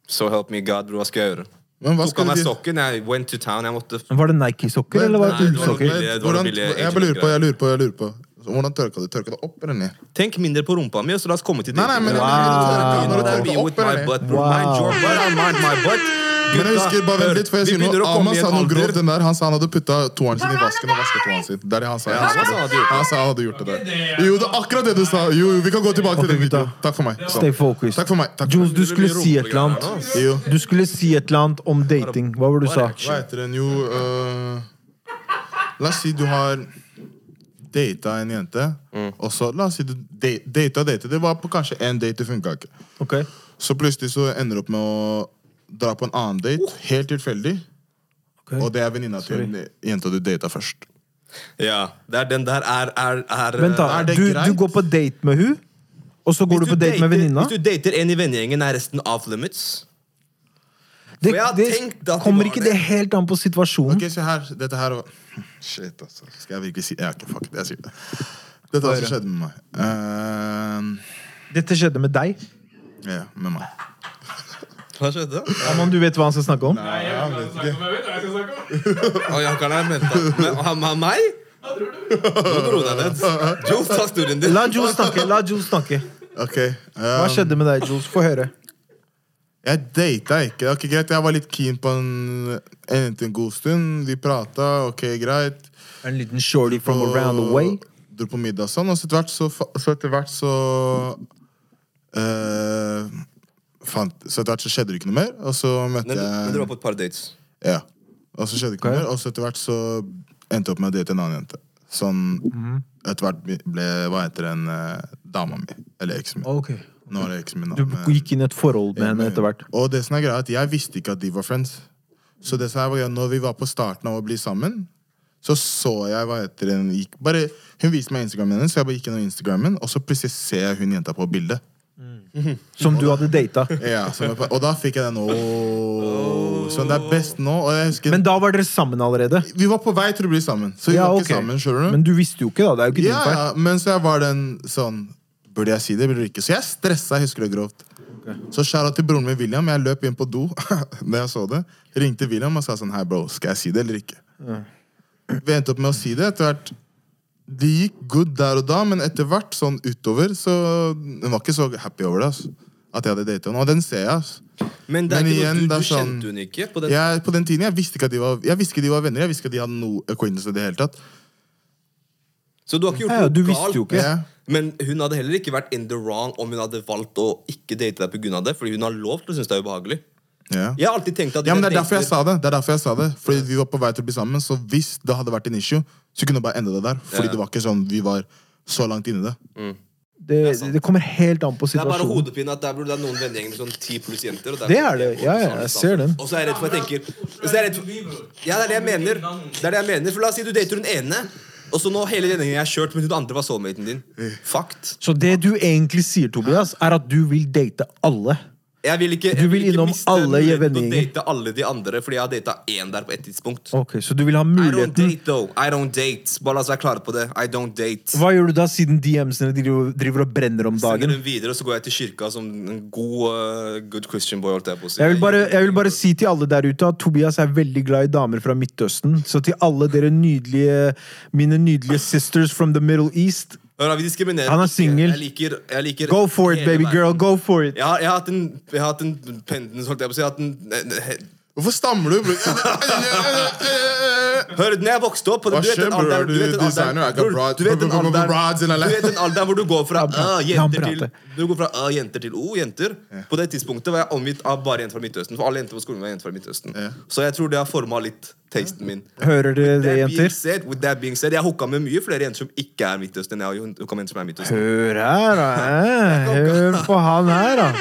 So help me God, bro, hva skal jeg gjøre? Men hva Tok av skal meg de sokken, jeg went to town. Jeg måtte Var det Nike-sokker, Men- eller var Nei, det det var noe ullsokker? billig- det var Hvordan, noe billig jeg bare lurer på, jeg lurer på. jeg lurer på Så Hvordan tørka du? Tørka det opp eller ned? Tenk mindre på rumpa mi, og så la oss komme til det. Nei, nei, men jeg Wow. mener, du tørka- Begynner når du det å bli tørka with opp my eller ned? butt, bro. Wow. Mind your butt, I mind my butt. Men jeg Gutta, husker, bare hør, vent litt, for jeg vi sier noe. begynner å komme Amas i sa en noe alder- grovt den der. Han sa han hadde putta toeren sin i vasken og vasket toeren sin. Det er det han sa. Ja, han Han sa sa han hadde gjort det. han sa han hadde gjort det der. Jo, det er akkurat det du sa. Jo, jo, vi kan gå tilbake til den Ok, gutta. videoen. Takk for meg. Sånn. Stay focused. Takk for meg. Takk for Jones, meg. du skulle si et eller annet. Jo. Du skulle si et eller annet om dating. Hva var det du sa? Hva heter den jo øh, La oss si du har data en jente, og så La oss si du da- data og data. Det var på kanskje én date, det funka ikke. Ok. Så plutselig så ender du opp med å dra på en annen date, helt tilfeldig. Ok. Og det er venninna til den jenta du data først. Ja, det er den der er, er, Eh, er Vent, da. Er det Du, greit? du går på date med hun, og så går du på date med venninna? Hvis du dater en i vennegjengen, er resten off limits. Det, For jeg har det tenkt at det kommer var ikke det. det helt an på situasjonen. Ok, se her. Dette her var Shit, altså. Skal jeg virkelig si Ja, ok, fuck it. Jeg sier det. Dette har også skjedd med meg. Eh, Dette skjedde med deg. Ja, med meg. Hva skjedde? Amand, du vet hva han skal snakke om? Nei, jeg vet ikke. Å, jeg kan ha venta. Men han han- meg? Nå dro du deg ned. Joe, ta historien din. La Jules snakke. la Jules snakke. Ok. Hva eh, skjedde med deg, Jules? Få høre. Jeg data ikke. Ok, greit, Jeg var litt keen på en, en jente en god stund. Vi prata, ok, greit. En liten shorty from Og around the way. Dro på middag og sånn, og så etter hvert så, fa- så, etter hvert så eh, fant, Så etter hvert så skjedde det ikke noe mer, og så møtte Men, men dere var jeg på et par dates. Ja. Og så skjedde det ikke Ok. noe mer, og så etter hvert så endte jeg opp med å date en annen jente. Sånn Mhm. etter hvert ble Hva heter den eh, dama mi? Eller eksen min. Ok. Nå er det eksen min. da, Du men- gikk inn i et forhold med henne etter hvert. eh, Og det som er greia er at jeg visste ikke at de var friends. Så det som er greia, når vi var på starten av å bli sammen, så så jeg hva heter den gikk, bare, Hun viste meg Instagramen hennes, så jeg bare gikk gjennom Instagramen, og så plutselig ser jeg hun jenta på bildet. Som du hadde data. Ja, som jeg, og da fikk jeg den ååå. Så det er best nå. Og jeg husker Men da var dere sammen allerede. Vi var på vei til å bli sammen, så vi Ja, var ok. ikke sammen. skjønner du? Men du visste jo ikke, da. Det er jo ikke din Ja, feil. ja, men så jeg var den sånn Burde jeg si det, burde jeg ikke? Så jeg stressa, jeg husker det grovt. Så skjæra til broren min William. Jeg løp inn på do da jeg så det. Ringte William og sa sånn Hei, bro, skal jeg si det eller ikke? Vi endte opp med å si det etter hvert. Det gikk good der og da, men etter hvert sånn utover, så Hun var ikke så happy over det. ass. At jeg hadde data henne. Og den ser jeg. ass. Men det er Men ikke igjen, noe, det du, er du sånn- kjente hun ikke på den Jeg, på den tiden jeg visste ikke at de var Jeg visste ikke de var venner. Jeg visste ikke at de hadde noe acquaintance i det hele tatt. Så du har ikke gjort Ja, ja, noe du visste galt. jo ikke. Ja. Men hun hadde heller ikke vært in the wrong om hun hadde valgt å ikke date deg pga. det. Fordi hun har lov til å synes det er ubehagelig. Ja. Jeg har alltid tenkt at Ja, men Det er jeg derfor jeg dater- sa det. det er derfor jeg sa det Fordi vi var på vei til å bli sammen. Så hvis det hadde vært en issue, så kunne det bare ende det der. Fordi Ja. det var ikke sånn vi var så langt inni det. Det, det kommer helt an på Det er bare situasjonen. hodepine at der burde det er noen vennegjenger med sånn ti pluss jenter. Og der- Det er det. Ja, ja, jeg ser den. Og så er jeg redd for at jeg tenker og så er jeg redd for, Ja, det er det jeg mener. Det er det jeg mener For la oss si du dater hun ene, og så nå hele denne gjengen jeg har kjørt, men hun andre var soulmaten din. Fucked. Så det du egentlig sier, Tobias, er at du vil date alle. Jeg vil ikke, jeg Du vil ikke innom miste alle muligheten til vennegjenger. Å date alle de andre, fordi jeg har data én der på et tidspunkt. Ok, Så du vil ha I don't muligheten date, though. I don't date. Bare la oss være klare på det. I don't date. Hva gjør du da, siden DMs-ene driver, driver og brenner om Sender dagen? hun videre, og så går jeg til kirka som en god eh, good Christian boy. Holdt jeg, på å si. Jeg vil, bare, jeg vil bare si til alle der ute at Tobias er veldig glad i damer fra Midtøsten. Så til alle dere nydelige Mine nydelige sisters from the Middle East, Hør, da, vi diskriminerer. Han er ikke. singel. Jeg liker, jeg liker go for it, hele baby verden. girl! Go for it! Jeg har, jeg har hatt en, jeg har hatt en pendens, holdt jeg på å si. Jeg har hatt en, eh, eh, Hvorfor stammer du? bror? Hør, når jeg vokste opp på det, Hva skjer, den bror? alderen- Er du du vet den alderen- designer? Jeg kan bror, broad- du vet den broad- alderen- broads in LA. Du vet den alderen hvor du går fra ah, jenter La ham til prate. Du går fra ah, jenter til oh, jenter. På det tidspunktet var jeg omgitt av bare jenter fra Midtøsten. For alle jenter på skolen var jenter fra Midtøsten Ja. Så jeg tror det har forma litt tasten min. Hører dere det, That being jenter? said, with that being said, jeg hooka med mye flere jenter som ikke er Midtøsten. enn Jeg har hooka med jenter som er Midtøsten Hør her, da. eh. Hør på han her, da.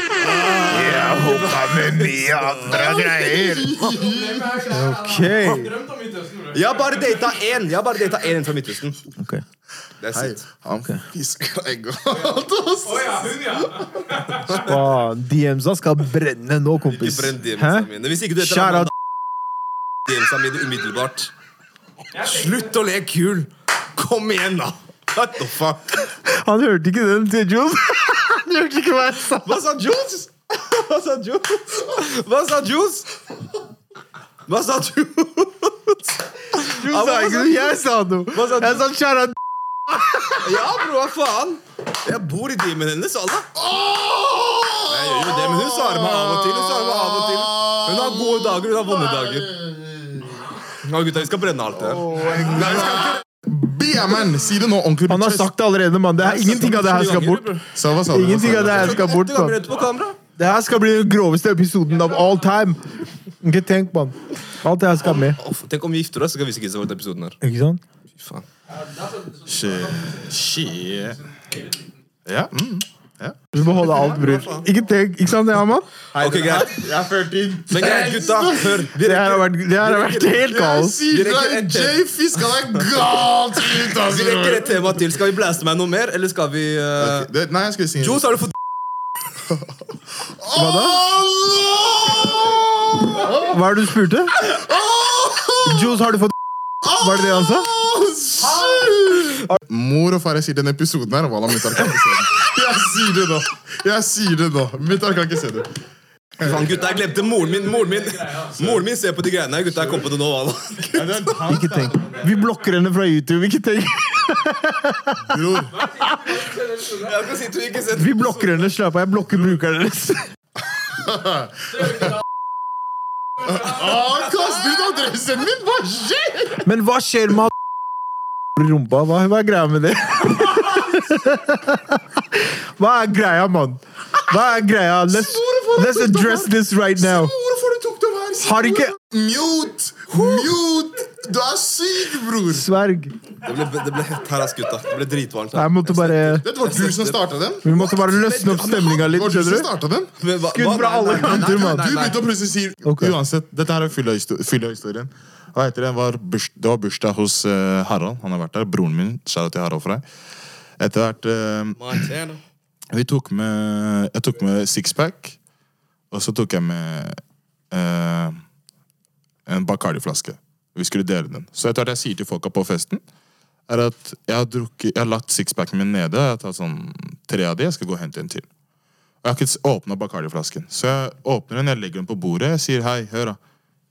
Jeg hoppa med mye andre greier. Jeg har bare data én! Jeg har bare data én jente fra Midtøsten. Ok. That's Hei, it. han fisker egget alt, ass. Faen, DMs-a skal brenne nå, Ikke kompis. brenn Hæ? DMs-ene mine. Hvis ikke du heter Shout Amanda, DMs-ene mine umiddelbart. Slutt å leke kul! Kom igjen, da! What the fuck? Han hørte ikke den til Jules. Han hørte ikke hva jeg sa. Hva sa Jules? Hva sa Jules? Hva sa Jules? Hva sa Jules? Jules sa ikke noe, jeg sa noe. Hva sa Jeg sa kjære d- Ja, bro, hva faen? Jeg bor i DM'en hennes, alle. Jeg gjør jo det, men hun svarer meg av og til. Hun svarer meg av og til. Hun har gode dager, hun har vonde dager. Nå, gutta, vi skal brenne alt det her. Nei, vi skal ikke Bia, man, Si det nå ordentlig. Han har sagt det allerede, mann. Det er sånn Ingenting av det her skal bort. Så hva sa du? Ingenting av det her skal bort, Åtte ganger mann. rett på kamera. Det her skal bli den groveste episoden av all time. Ikke tenk, mann. Alt det her skal med. Uff, tenk om vi gifter oss, så skal vi ikke se hvordan episoden er. Ikke sant? Fy faen. Shit. Shit. Ja, mm. Du må holde alt, bror. Ikke tenk. Ikke sant det, Aman? Ok, greit. Jeg er 14. Men greit, gutta. Hør. Vi Det her har rekker, vært, det her har vært helt kaos. Sier Direkte deg, etter. Jay fiska deg galt ut, altså. ass. vi rekker et tema til. Skal vi blæste meg noe mer, eller skal vi uh... Ok, det- Nei, jeg skulle si Johs, har du fått Hva da? Hva er det du spurte? Jules, har du fått Var det det han sa? Mor og far, jeg sier den episoden her Walla, mutter'n kan ikke se den. Jeg sier det nå. Jeg sier det nå. Mutter'n kan ikke se det. Faen, gutta, jeg glemte moren min. Moren min Moren min ser på de greiene her. Gutta, jeg kom på det nå. Hva? da? Ikke tenk. Vi blokker henne fra YouTube. Ikke tenk. Bror, Jeg skal si at du ikke sett Vi blokker henne. Slapp av, jeg blokker brukeren hennes. ah, kast ut adressen min! Hva skjer? Men hva skjer med i rumpa? Hva, hva er greia med det? Hva er greia, mann? Hva er greia? Let's, let's address this right now. Hvorfor du tok dem her? Si Har ikke Mute! Mute! Du er syk, bror. Sverg. Det ble, det ble hett her, ass, gutta. Det ble dritvarmt. her. Jeg måtte bare Det var du som starta den. Vi måtte bare løsne opp stemninga Det litt, var du som skjønner du? starta den. Men hva- Skudd hva- fra nei, alle nei, nei, kanter, nei, mann. nei, Du nei. begynte å plutselig si Ok. Uansett, dette her er fylla histo- fylla historien. Hva heter det? Det Var burs, det var bursdag hos eh, Harald. Han har vært der. Broren min. Skjæra til Harald for deg. Etter hvert eh, Montana. Vi tok med Jeg tok med sixpack. Og så tok jeg med eh, en Bacardi-flaske. Vi skulle dele den. Så etter hvert jeg sier til folka på festen, er at jeg har, drukket, jeg har latt sixpacken min nede. Jeg har tatt sånn tre av de, jeg skal gå og hente en til. Og jeg har ikke åpna Bacardi-flasken. Så jeg åpner den, jeg legger den på bordet. Jeg sier hei, hør da.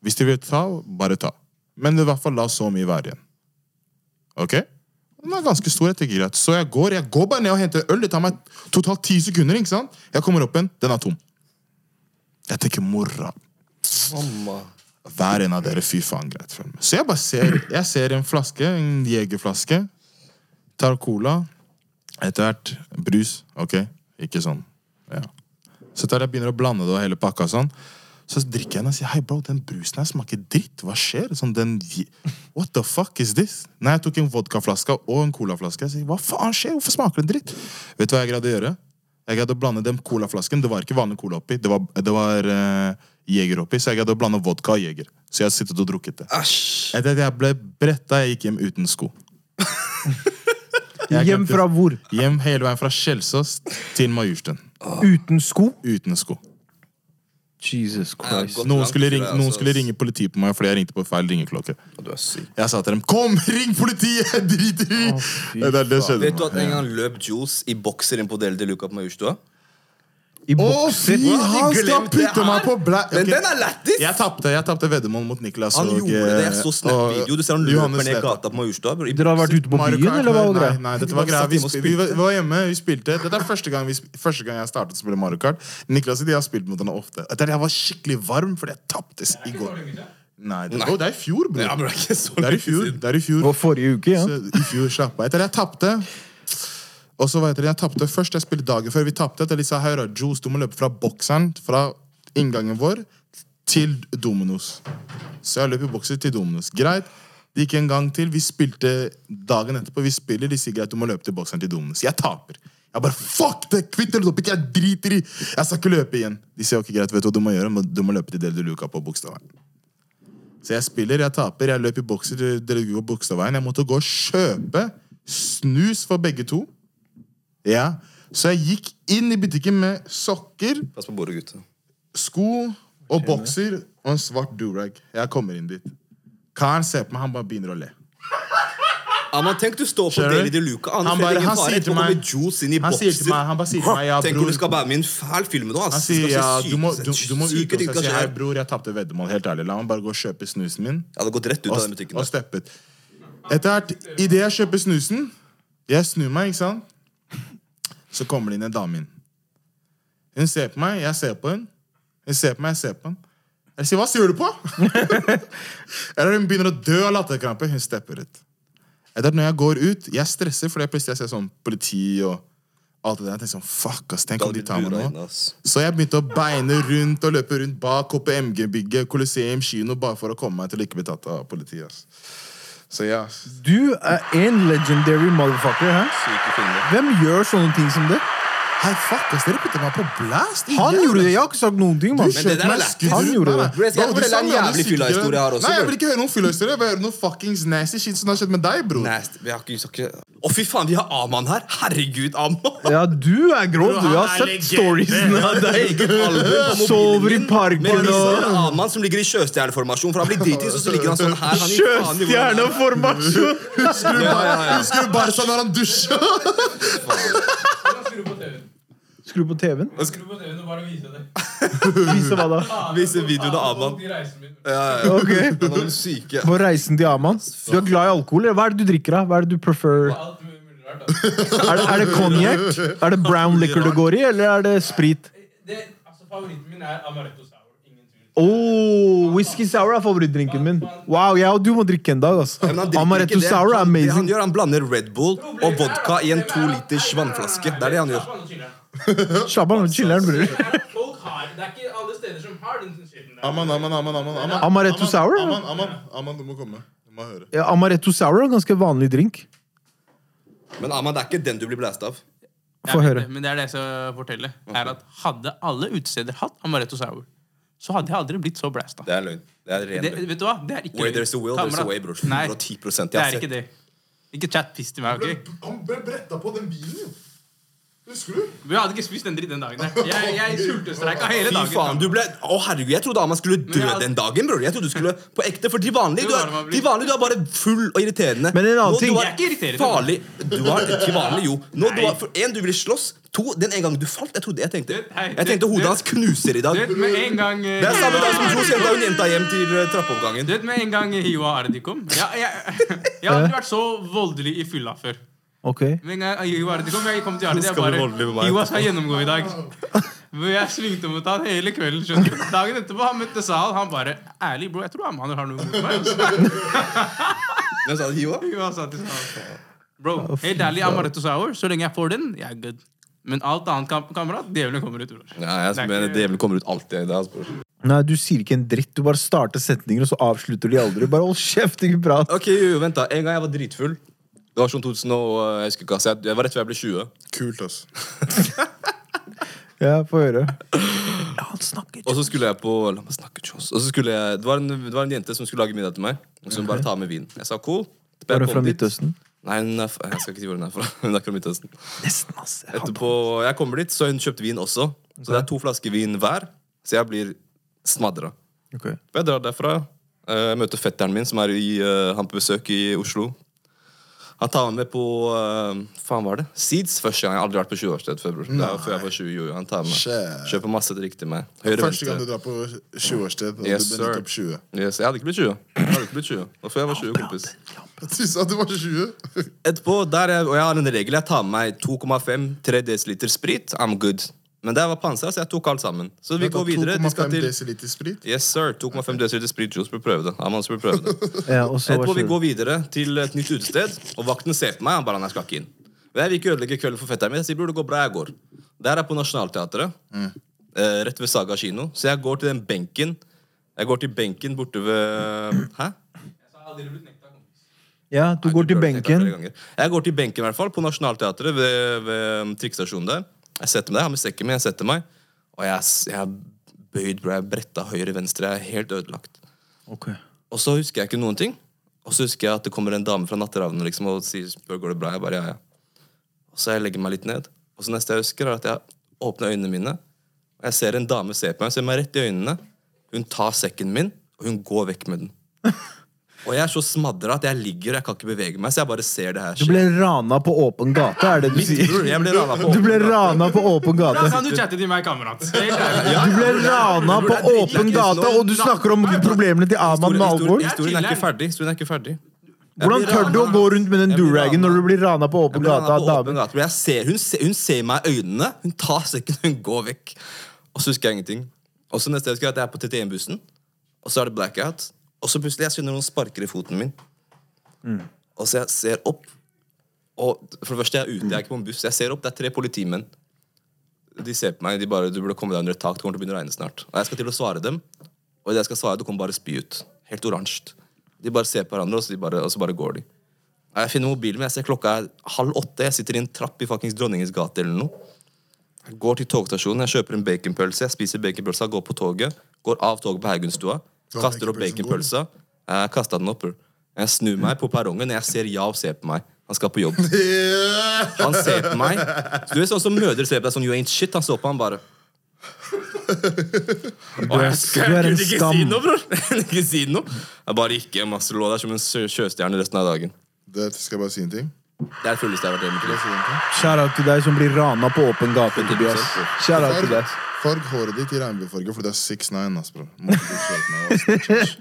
Hvis de vil ta, bare ta. Men i hvert fall la så mye være igjen. Ok? Den er ganske stor etter greit. Så jeg går, jeg går bare ned og henter øl. Det tar meg totalt ti sekunder. ikke sant? Jeg kommer opp igjen, den er tom. Jeg tenker morra. Mamma. Hver en av dere, fy faen, greit. følg med. Så jeg bare ser, jeg ser en flaske, en jegerflaske. Tar cola, etter hvert brus. Ok, ikke sånn. Ja. Så tar jeg begynner å blande det og hele pakka sånn. Så drikker jeg den og sier hei bro, den brusen her smaker dritt. Hva skjer? Sånn, den, what the fuck is this? Nei, jeg tok en vodkaflaske og en colaflaske. Jeg sier hva faen skjer? Hvorfor smaker den dritt? Vet du hva jeg greide å gjøre? Jeg greide å blande den colaflasken. Det var ikke vanlig cola oppi. Det var, det var eh, jeger oppi. Så jeg greide å blande vodka og jeger. Så jeg har sittet og drukket det. Æsj! Etter at jeg ble bretta, jeg gikk hjem uten sko. Jeg Hjem glemte- fra hvor? Hjem hele veien fra Kjelsås til Majorstuen. Uten sko? Uten sko. Jesus Christ. Ja, godt Noen langt skulle, fra ringe, det, noen altså. skulle ringe politiet på meg fordi jeg ringte på feil ringeklokke. Og Du er syk. Jeg sa til dem 'Kom, ring politiet! Jeg driter i!' det er det det skjedde. Vet du at en gang løp Jules i bokser inn på Del de Luca på Majorstua? I Å, bokser? fy! Han skal Glemte putte her. meg på blæ... Men Ok. den er lættis! Jeg tapte jeg tapte veddemål mot Niklas Han og eh, gjorde det. Jeg så og Snap-video. Du ser han løper Johannes ned Leta. gata på Majorstua. bror, i Dere har vært ute på Mario byen, Kart, eller hva var greia? Nei, nei, De dette bare var greia. satt Vi, hjemme og sp- vi, spilte. vi var hjemme, vi spilte. Dette er første gang, vi, sp- første gang jeg startet å spille Mario Kart. Niklas og de har spilt mot henne ofte. Etter jeg var skikkelig varm fordi jeg tapte s- i går. Nei, det, Å, det er i fjor, bror. Ja, men det er ikke så det er i lenge fjor. siden. Det er i Det fjor. var forrige uke, ja. Så I fjor slapp jeg. Etter jeg tapte Og så var det jeg tapte først. Jeg spilte dagen før vi tapte. Etter de sa Høyra, Jules, du må løpe fra bokseren, fra inngangen vår, til Dominos. Så jeg løp i bokser til Dominos. Greit. Det gikk en gang til. Vi spilte dagen etterpå. Vi spiller, de sier greit, du må løpe til bokseren til Dominos. Jeg taper. Jeg bare fuck det! Kvitt dere opp! Ikke jeg driter i! Jeg skal ikke løpe igjen. De sier ok, greit, vet du hva du må gjøre? Du må løpe til Del du Luca på Bogstadveien. Så jeg spiller, jeg taper, jeg løp i bokser til Delegu og Bogstadveien. Jeg måtte gå og kjøpe snus for begge to. Ja. Så jeg gikk inn i butikken med sokker, Pass på bordet, gutter. sko og bokser og en svart durag. Jeg kommer inn dit. Karen ser på meg, han bare begynner å le. Ja, men tenk du står på Skjønner Deli du? de Luca. Han, Han bare- han han sier sier til meg- Jules inn i Han bokser. sier til meg, han bare sier til meg ja, Tenk om bror. du skal være med i en fæl film nå, ass. Han sier Det ja, skal skje du må, syke- du, du må syke ut ting og skal si skje hei, her. bror, jeg tapte veddemål. Helt ærlig, la meg bare gå og kjøpe snusen min. Jeg hadde gått rett ut av den og, butikken. og der. steppet. Etter hvert, idet jeg kjøper snusen Jeg snur meg, ikke sant? Så kommer det inn en dame inn. Hun ser på meg, jeg ser på hun. Hun ser på meg, jeg ser på hun. Jeg sier 'hva sier du på?' Eller hun begynner å dø av latterkrampe. Hun stepper ut. Etter at når jeg går ut, jeg stresser fordi jeg plutselig jeg ser sånn politi og alt det der. Jeg tenker sånn, fuck ass, tenk Da om de hadde tar du meg buret nå. inne, ass. Så jeg begynte å beine rundt og løpe rundt bak KPMG-bygget, Colosseum, kino, bare for å komme meg til å ikke bli tatt av politiet. ass. Så ja. Du er en legendary motherfucker, hæ? Syke filmer. Hvem gjør sånne ting som det? Hei, fuck, ass, dere putter meg på blast! Han gjorde det, jeg har ikke sagt noen ting, mann. Men det der er lættis. Han gjorde det. Bro, jeg skal fortelle en jævlig fyllahistorie her også, Nei, jeg bro. vil ikke høre noen fyllahistorie. Jeg vil høre noe fuckings nasty shit som har skjedd med deg, bror. Nast. Vi har ikke, vi skal ikke... Å, fy faen, vi har Aman her! Herregud, Aman! Ja, du er grov, du. Jeg har Han er sett storiesene av Det er deg. ikke et album på mobilen Sover i min, parken men vi og- ser Aman som ligger i sjøstjerneformasjon, for han blir dritings, og så ligger han sånn her. Han gir faen i hvordan det er. Sjøstjerneformasjon! Husker du Ja, bare, ja, ja. husker du bare sånn når han dusja? Hvordan skrur du på TV-en? Skru Skru på på TV-en. TV-en og bare vise det. Vise hva da? Vise videoen av Aman. De reiser min. Ja, ja. Ok. Han er syke. På reisen til Aman. Du er glad i alkohol, eller hva er det du drikker? da? Hva Er det du prefer? Alt mulig rart. altså. Er det, er det cognac? Er det brown liquor det går i, eller er det sprit? Det, altså, favoritten min er Amaretto Sour. Ingen tvil. Oh, whisky sour er favorittdrinken min. Wow, jeg og du må drikke en dag, altså. Men han drikker Amaretto ikke det. sour er Han- Det han amazing. gjør, han blander Red Bull Problemet og vodka er- i en problemet to er- Nei, liters nei, nei, vannflaske. nei, Det er det han slapp gjør. av nå, chiller'n. Slapp av med chiller'n, bror. Det er at folk har- det er ikke alle steder som har den skitten der. Aman, aman, aman, aman, aman. Amaretto sour? eller? Aman, aman, aman, du må komme. Du må høre. Ja, Eh, Amaretto sour er en ganske vanlig drink. Men Aman, det er ikke den du blir blæst av. Få Jeg vet høre. det, Men det er det jeg skal fortelle. Er at Hadde alle utesteder hatt Amaretto Sour, så hadde jeg aldri blitt så blæsta. Det er løgn. Det er ren Det, løgn. vet du hva? Det er ikke Where løgn. there's a will, there's a Kamerat, way, bror. Nei, 110 Jeg det har er sett- ikke det. Ikke chat piss til meg, OK? Han ble bretta på den bilen, jo. Husker du? Vi hadde ikke spist den dritten den dagen. der. Jeg, jeg sultestreika hele Fy dagen. faen, du ble... Å, herregud, jeg trodde Aman skulle dø Men jeg- den dagen, bror. Jeg trodde du skulle på ekte, for de vanlige, Det du var det er, man blir. de vanlige, du er bare full og irriterende. Men en annen ting- du Jeg er ikke irriterende. Farlig. Du er ikke vanlig, jo. Nå, du Nei. var, for en, du ville slåss. To, den en gang du falt, jeg trodde jeg tenkte Du, hei, Jeg du, tenkte du- hodet hans knuser i dag. Du vet, med en gang eh, Det er samme dag som Johs henta hun jenta hjem til eh, trappeoppgangen. Du vet med en gang eh, Hiwa Ardi kom Jeg, jeg, jeg har aldri vært så voldelig i fylla før. Ok. Med en gang Hiwa Ardi kom, jeg kom til Ardi. Jeg Skal bli bare voldelig med meg Hiwa etterpå." skal gjennomgå i dag. Men jeg svingte mot han hele kvelden. skjønner du Dagen etterpå han møtte Sahal. Han bare Ærlig, bro, jeg tror Amaner har noe mot meg. Så Hvem sa det? Hiwa? Hiwa sa til Sahal Bro, helt ærlig, amaretto sour, så lenge jeg får den, jeg er good. Men alt annet, kam- kamerat, djevelen kommer ut, bror. Ja, jeg Det er mener ikke- djevelen kommer ut alltid. Det, altså. Nei, du sier ikke en dritt. Du bare starter setninger, og så avslutter de aldri. Bare hold kjeft, ikke prat. Ok, jo, jo, vent da. En gang jeg var dritfull. Det var sånn 2000 og eh, jeg husker ikke, ass. Jeg- Jeg var rett før jeg ble 20. Kult, ass. Ja, få høre. La han snakke. Og så skulle jeg på La meg snakke, Johs. Og så skulle jeg det var, en, det var en jente som skulle lage middag til meg. Og så hun bare ta med vin. Jeg sa cool. Mhm. Er Jeg du kom fra dit. Midtøsten? Nei, hun er, fra- jeg skal ikke si hvor hun er fra. Hun er ikke fra Midtøsten. Nesten, ass. Jeg hadde- Etterpå, jeg kommer dit, så har hun kjøpt vin også. Så det er to flasker vin hver. Så jeg blir smadra. Ok. Jeg drar derfra. eh, Jeg møter fetteren min, som er i, eh, han på besøk i Oslo. Han tar meg med på eh, faen var det? Seeds første gang. Jeg har aldri vært på 20-årssted før. bror. Det er jo før jeg var 20 jo, jo, han tar meg. Shit. Kjøper masse drikk til meg. Høyre, Første gang du venstre. drar på 20-årssted, og Yes, du sir. ble nettopp 20. Yes, jeg hadde ikke blitt 20. Jeg hadde ikke blitt 20. Det var før jeg var 20, kompis. Du sa du var 20. Etterpå, der jeg, og jeg har en regel, jeg tar med meg 2,5-3 dl sprit. I'm good. Men det var pansra, så jeg tok alt sammen. Så vi går videre. De skal 2,5 til desiliter sprit. Yes, sir. 2,5 dl sprit juice. Bør prøve det. Amand bør prøve det. Ja, og så Etterpå vær vi så går god. videre til et nytt utested, og vakten ser på meg. Han bare, han skal ikke inn. Men jeg vil ikke ødelegge kvelden for fetteren min. Jeg sier, bror, det går bra, jeg går. Der er på Nationaltheatret, eh, rett ved Saga kino. Så jeg går til den benken. Jeg går til benken borte ved Hæ? Jeg sa aldri blitt nekta kompis. Ja, du går til Burde tenkt deg flere benken. ganger. Jeg går til benken, i hvert fall, på Nationaltheatret, ved, ved trikkestasjonen der. Jeg setter meg der, jeg har med sekken min, jeg setter meg, og jeg, s- jeg er bøyd, bro. Jeg er bretta høyre-venstre. Jeg er helt ødelagt. Ok. Og så husker jeg ikke noen ting. Og så husker jeg at det kommer en dame fra Natteravnen liksom, og sier spør, går det bra. Jeg bare, ja, ja. Og så jeg legger meg litt ned. Og så neste jeg husker, er at jeg åpner øynene mine. Og jeg ser en dame se på meg, ser meg rett i øynene. Hun tar sekken min, og hun går vekk med den. Og jeg er så smadra at jeg ligger og jeg kan ikke bevege meg. Så jeg bare ser det her Du skje. ble rana på åpen gate, er det du sier? Bror, Jeg ble rana på Du ble rana på åpen Da gate. kan du chatte til meg, kamerat. Helt ærlig. Du ble rana på åpen gate, og du snakker om problemene til Aman med alvor. Historien, historien er ikke ferdig. Historien er ikke ferdig. Jeg Hvordan blir tør du å ranet. gå rundt med den Jeg blir duragen ranet. når du blir rana på Jeg åpen blir gate av ranet på åpen damen? gate, men jeg ser, hun, ser, hun ser meg i øynene, hun tar sekken hun går vekk. Og så husker jeg ingenting. Og så neste jeg husker er at jeg er på TT1-bussen, og så er det blackout. Og så plutselig jeg kjenner noen sparker i foten min. Mm. Og så jeg ser opp, og for det første jeg er ute, jeg er ikke på en buss. Jeg ser opp, det er tre politimenn. De ser på meg, de bare 'Du burde komme deg under et tak, det kommer til å begynne å regne snart'. Og jeg skal til å svare dem, og idet jeg skal svare, det kommer bare spy ut. Helt oransje. De bare ser på hverandre, og så, de bare, og så bare går de. Og Jeg finner mobilen min, jeg ser klokka er halv åtte. Jeg sitter i en trapp i fuckings Dronningens gate eller noe. Jeg går til togstasjonen, jeg kjøper en baconpølse, jeg spiser baconpølsa, går på toget, går av toget på Haugenstua, Hva kaster opp baconpølsen baconpølsa. Jeg kasta den opp. bror. Jeg snur meg på perrongen, jeg ser Jav se på meg. Han skal på jobb. Han ser på meg. Du er sånn som mødre ser på deg sånn You ain't shit. Han så på han bare. Du er, du er en Jeg kunne ikke si skam. noe, bror. Jeg kunne ikke si noe. Jeg bare gikk hjem ass, og lå der som en sjø- sjøstjerne resten av dagen. Det skal jeg bare si en ting. Det er det fulleste jeg har vært hjemme til. Bare si en ting. Shout out til deg som blir rana på åpen gate, Tobias. Shout out til deg. Farg, farg håret ditt i regnbuefarge, for det er 6'9, ass, bro. Må ikke du skjøte meg, ass.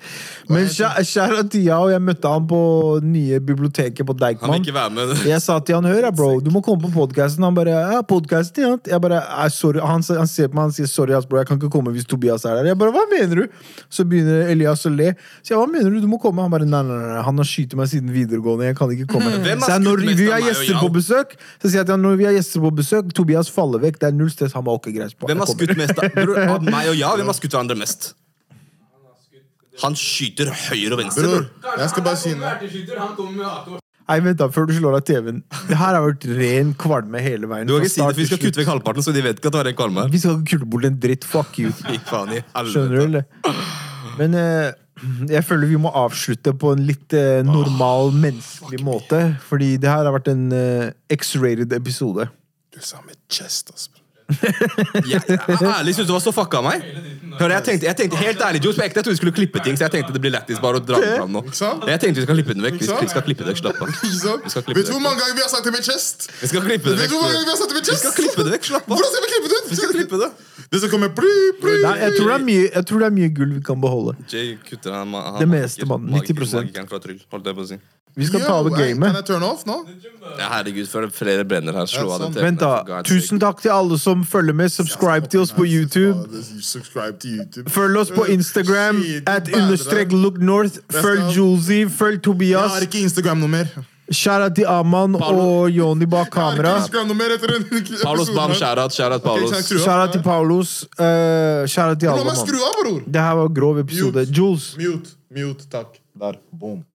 Men shout shout out til Yao. Jeg møtte han på nye biblioteket på Han vil Deichman. ikke være med. Jeg sa til han, hør her, bro, du må komme på podcasten Han bare, ja, podcasten, ja Jeg bare, «Nei, sorry, han, sa- han ser på meg, han sier Sorry, ass, bro, jeg kan ikke komme hvis Tobias er der Jeg bare, hva mener du? Så begynner Elias å le Så jeg, hva mener du, du må komme Han bare, nei, nei, nei, han har skytet meg siden videregående Jeg kan ikke komme Hmm. Hvem har Så jeg, når skutt mest vi av har meg og gjester Yao? på besøk Så sier jeg til han, når vi har gjester på besøk Tobias faller vekk, det er null stress Han bare, ok, greit, bro, jeg Hvem har kommer.» skutt mest av, bror, av meg og ja? Hvem har skutt hverandre mest? Han skyter høyre og venstre. Bror, bror. jeg skal bare si Han noe. kommer med erteskyter, han kommer med AK. Nei, vent da, før du slår av TV-en Det her har vært ren kvalme hele veien Du har fra ikke si det, start for vi til skal kutte slutt. vekk halvparten, så de vet ikke at det er en kvalme. Vi skal ikke kutte bort en dritt, fuck you Fy faen i Skjønner du, helvete. eller? Men eh, jeg føler vi må avslutte på en litt eh, normal, menneskelig måte. Fordi det her har vært en eh, X-rated episode. Du sa med chest, ass, bro. Jeg, jeg, ærlig synes du var så fucka av meg. Hør, jeg tenkte, jeg tenkte helt ærlig, Jules, på ekte, jeg trodde vi skulle klippe ting, så jeg tenkte det blir lættis bare å dra den fram nå. Ikke sant? Jeg tenkte vi skal klippe den vekk. Vi skal, vi skal klippe det vekk, slapp av. Ikke sant? Vi skal klippe Vet du det hvor vekk. mange ganger vi har sagt det med chest? Vi skal klippe det Vet du hvor mange ganger vekk. vi har sagt det med Vi chest? skal klippe det vekk, slapp av. Hvordan skal vi klippe det ut? Vi skal klippe det. Det skal komme bli, bli. Nei, jeg tror det er mye, jeg tror det er mye gull vi kan beholde. Jay kutter han, han Det meste, mann. magiker- 90%. magikeren fra Tryll, holdt jeg på å si. Vi skal ta over Kan gamet. jeg turn off nå? Ja, herregud, før det flere brenner her, slå Ja, av den sånn. TV-en Vent, der, for da. God's sake. Tusen takk til alle som følger med. Subscribe til oss på YouTube. Subscribe til YouTube. Følg oss på Instagram Shit, at bedre. understrek look north. Følg Julesy, følg Jeg har Tobias. ikke Instagram noe mer. Shout-out til Aman Paolo. og Joni bak kamera. Jeg skal ha noe mer etter en episode. Paulos Bam, her. shout-out, shout-out, Paulos. kjære skru. Shout-out til Paulos. Uh, Shout-out til La alle meg mann. skru av, bror! Det her var en grov episode. Mute. Jules, Mute. Mute, takk. Der. Boom.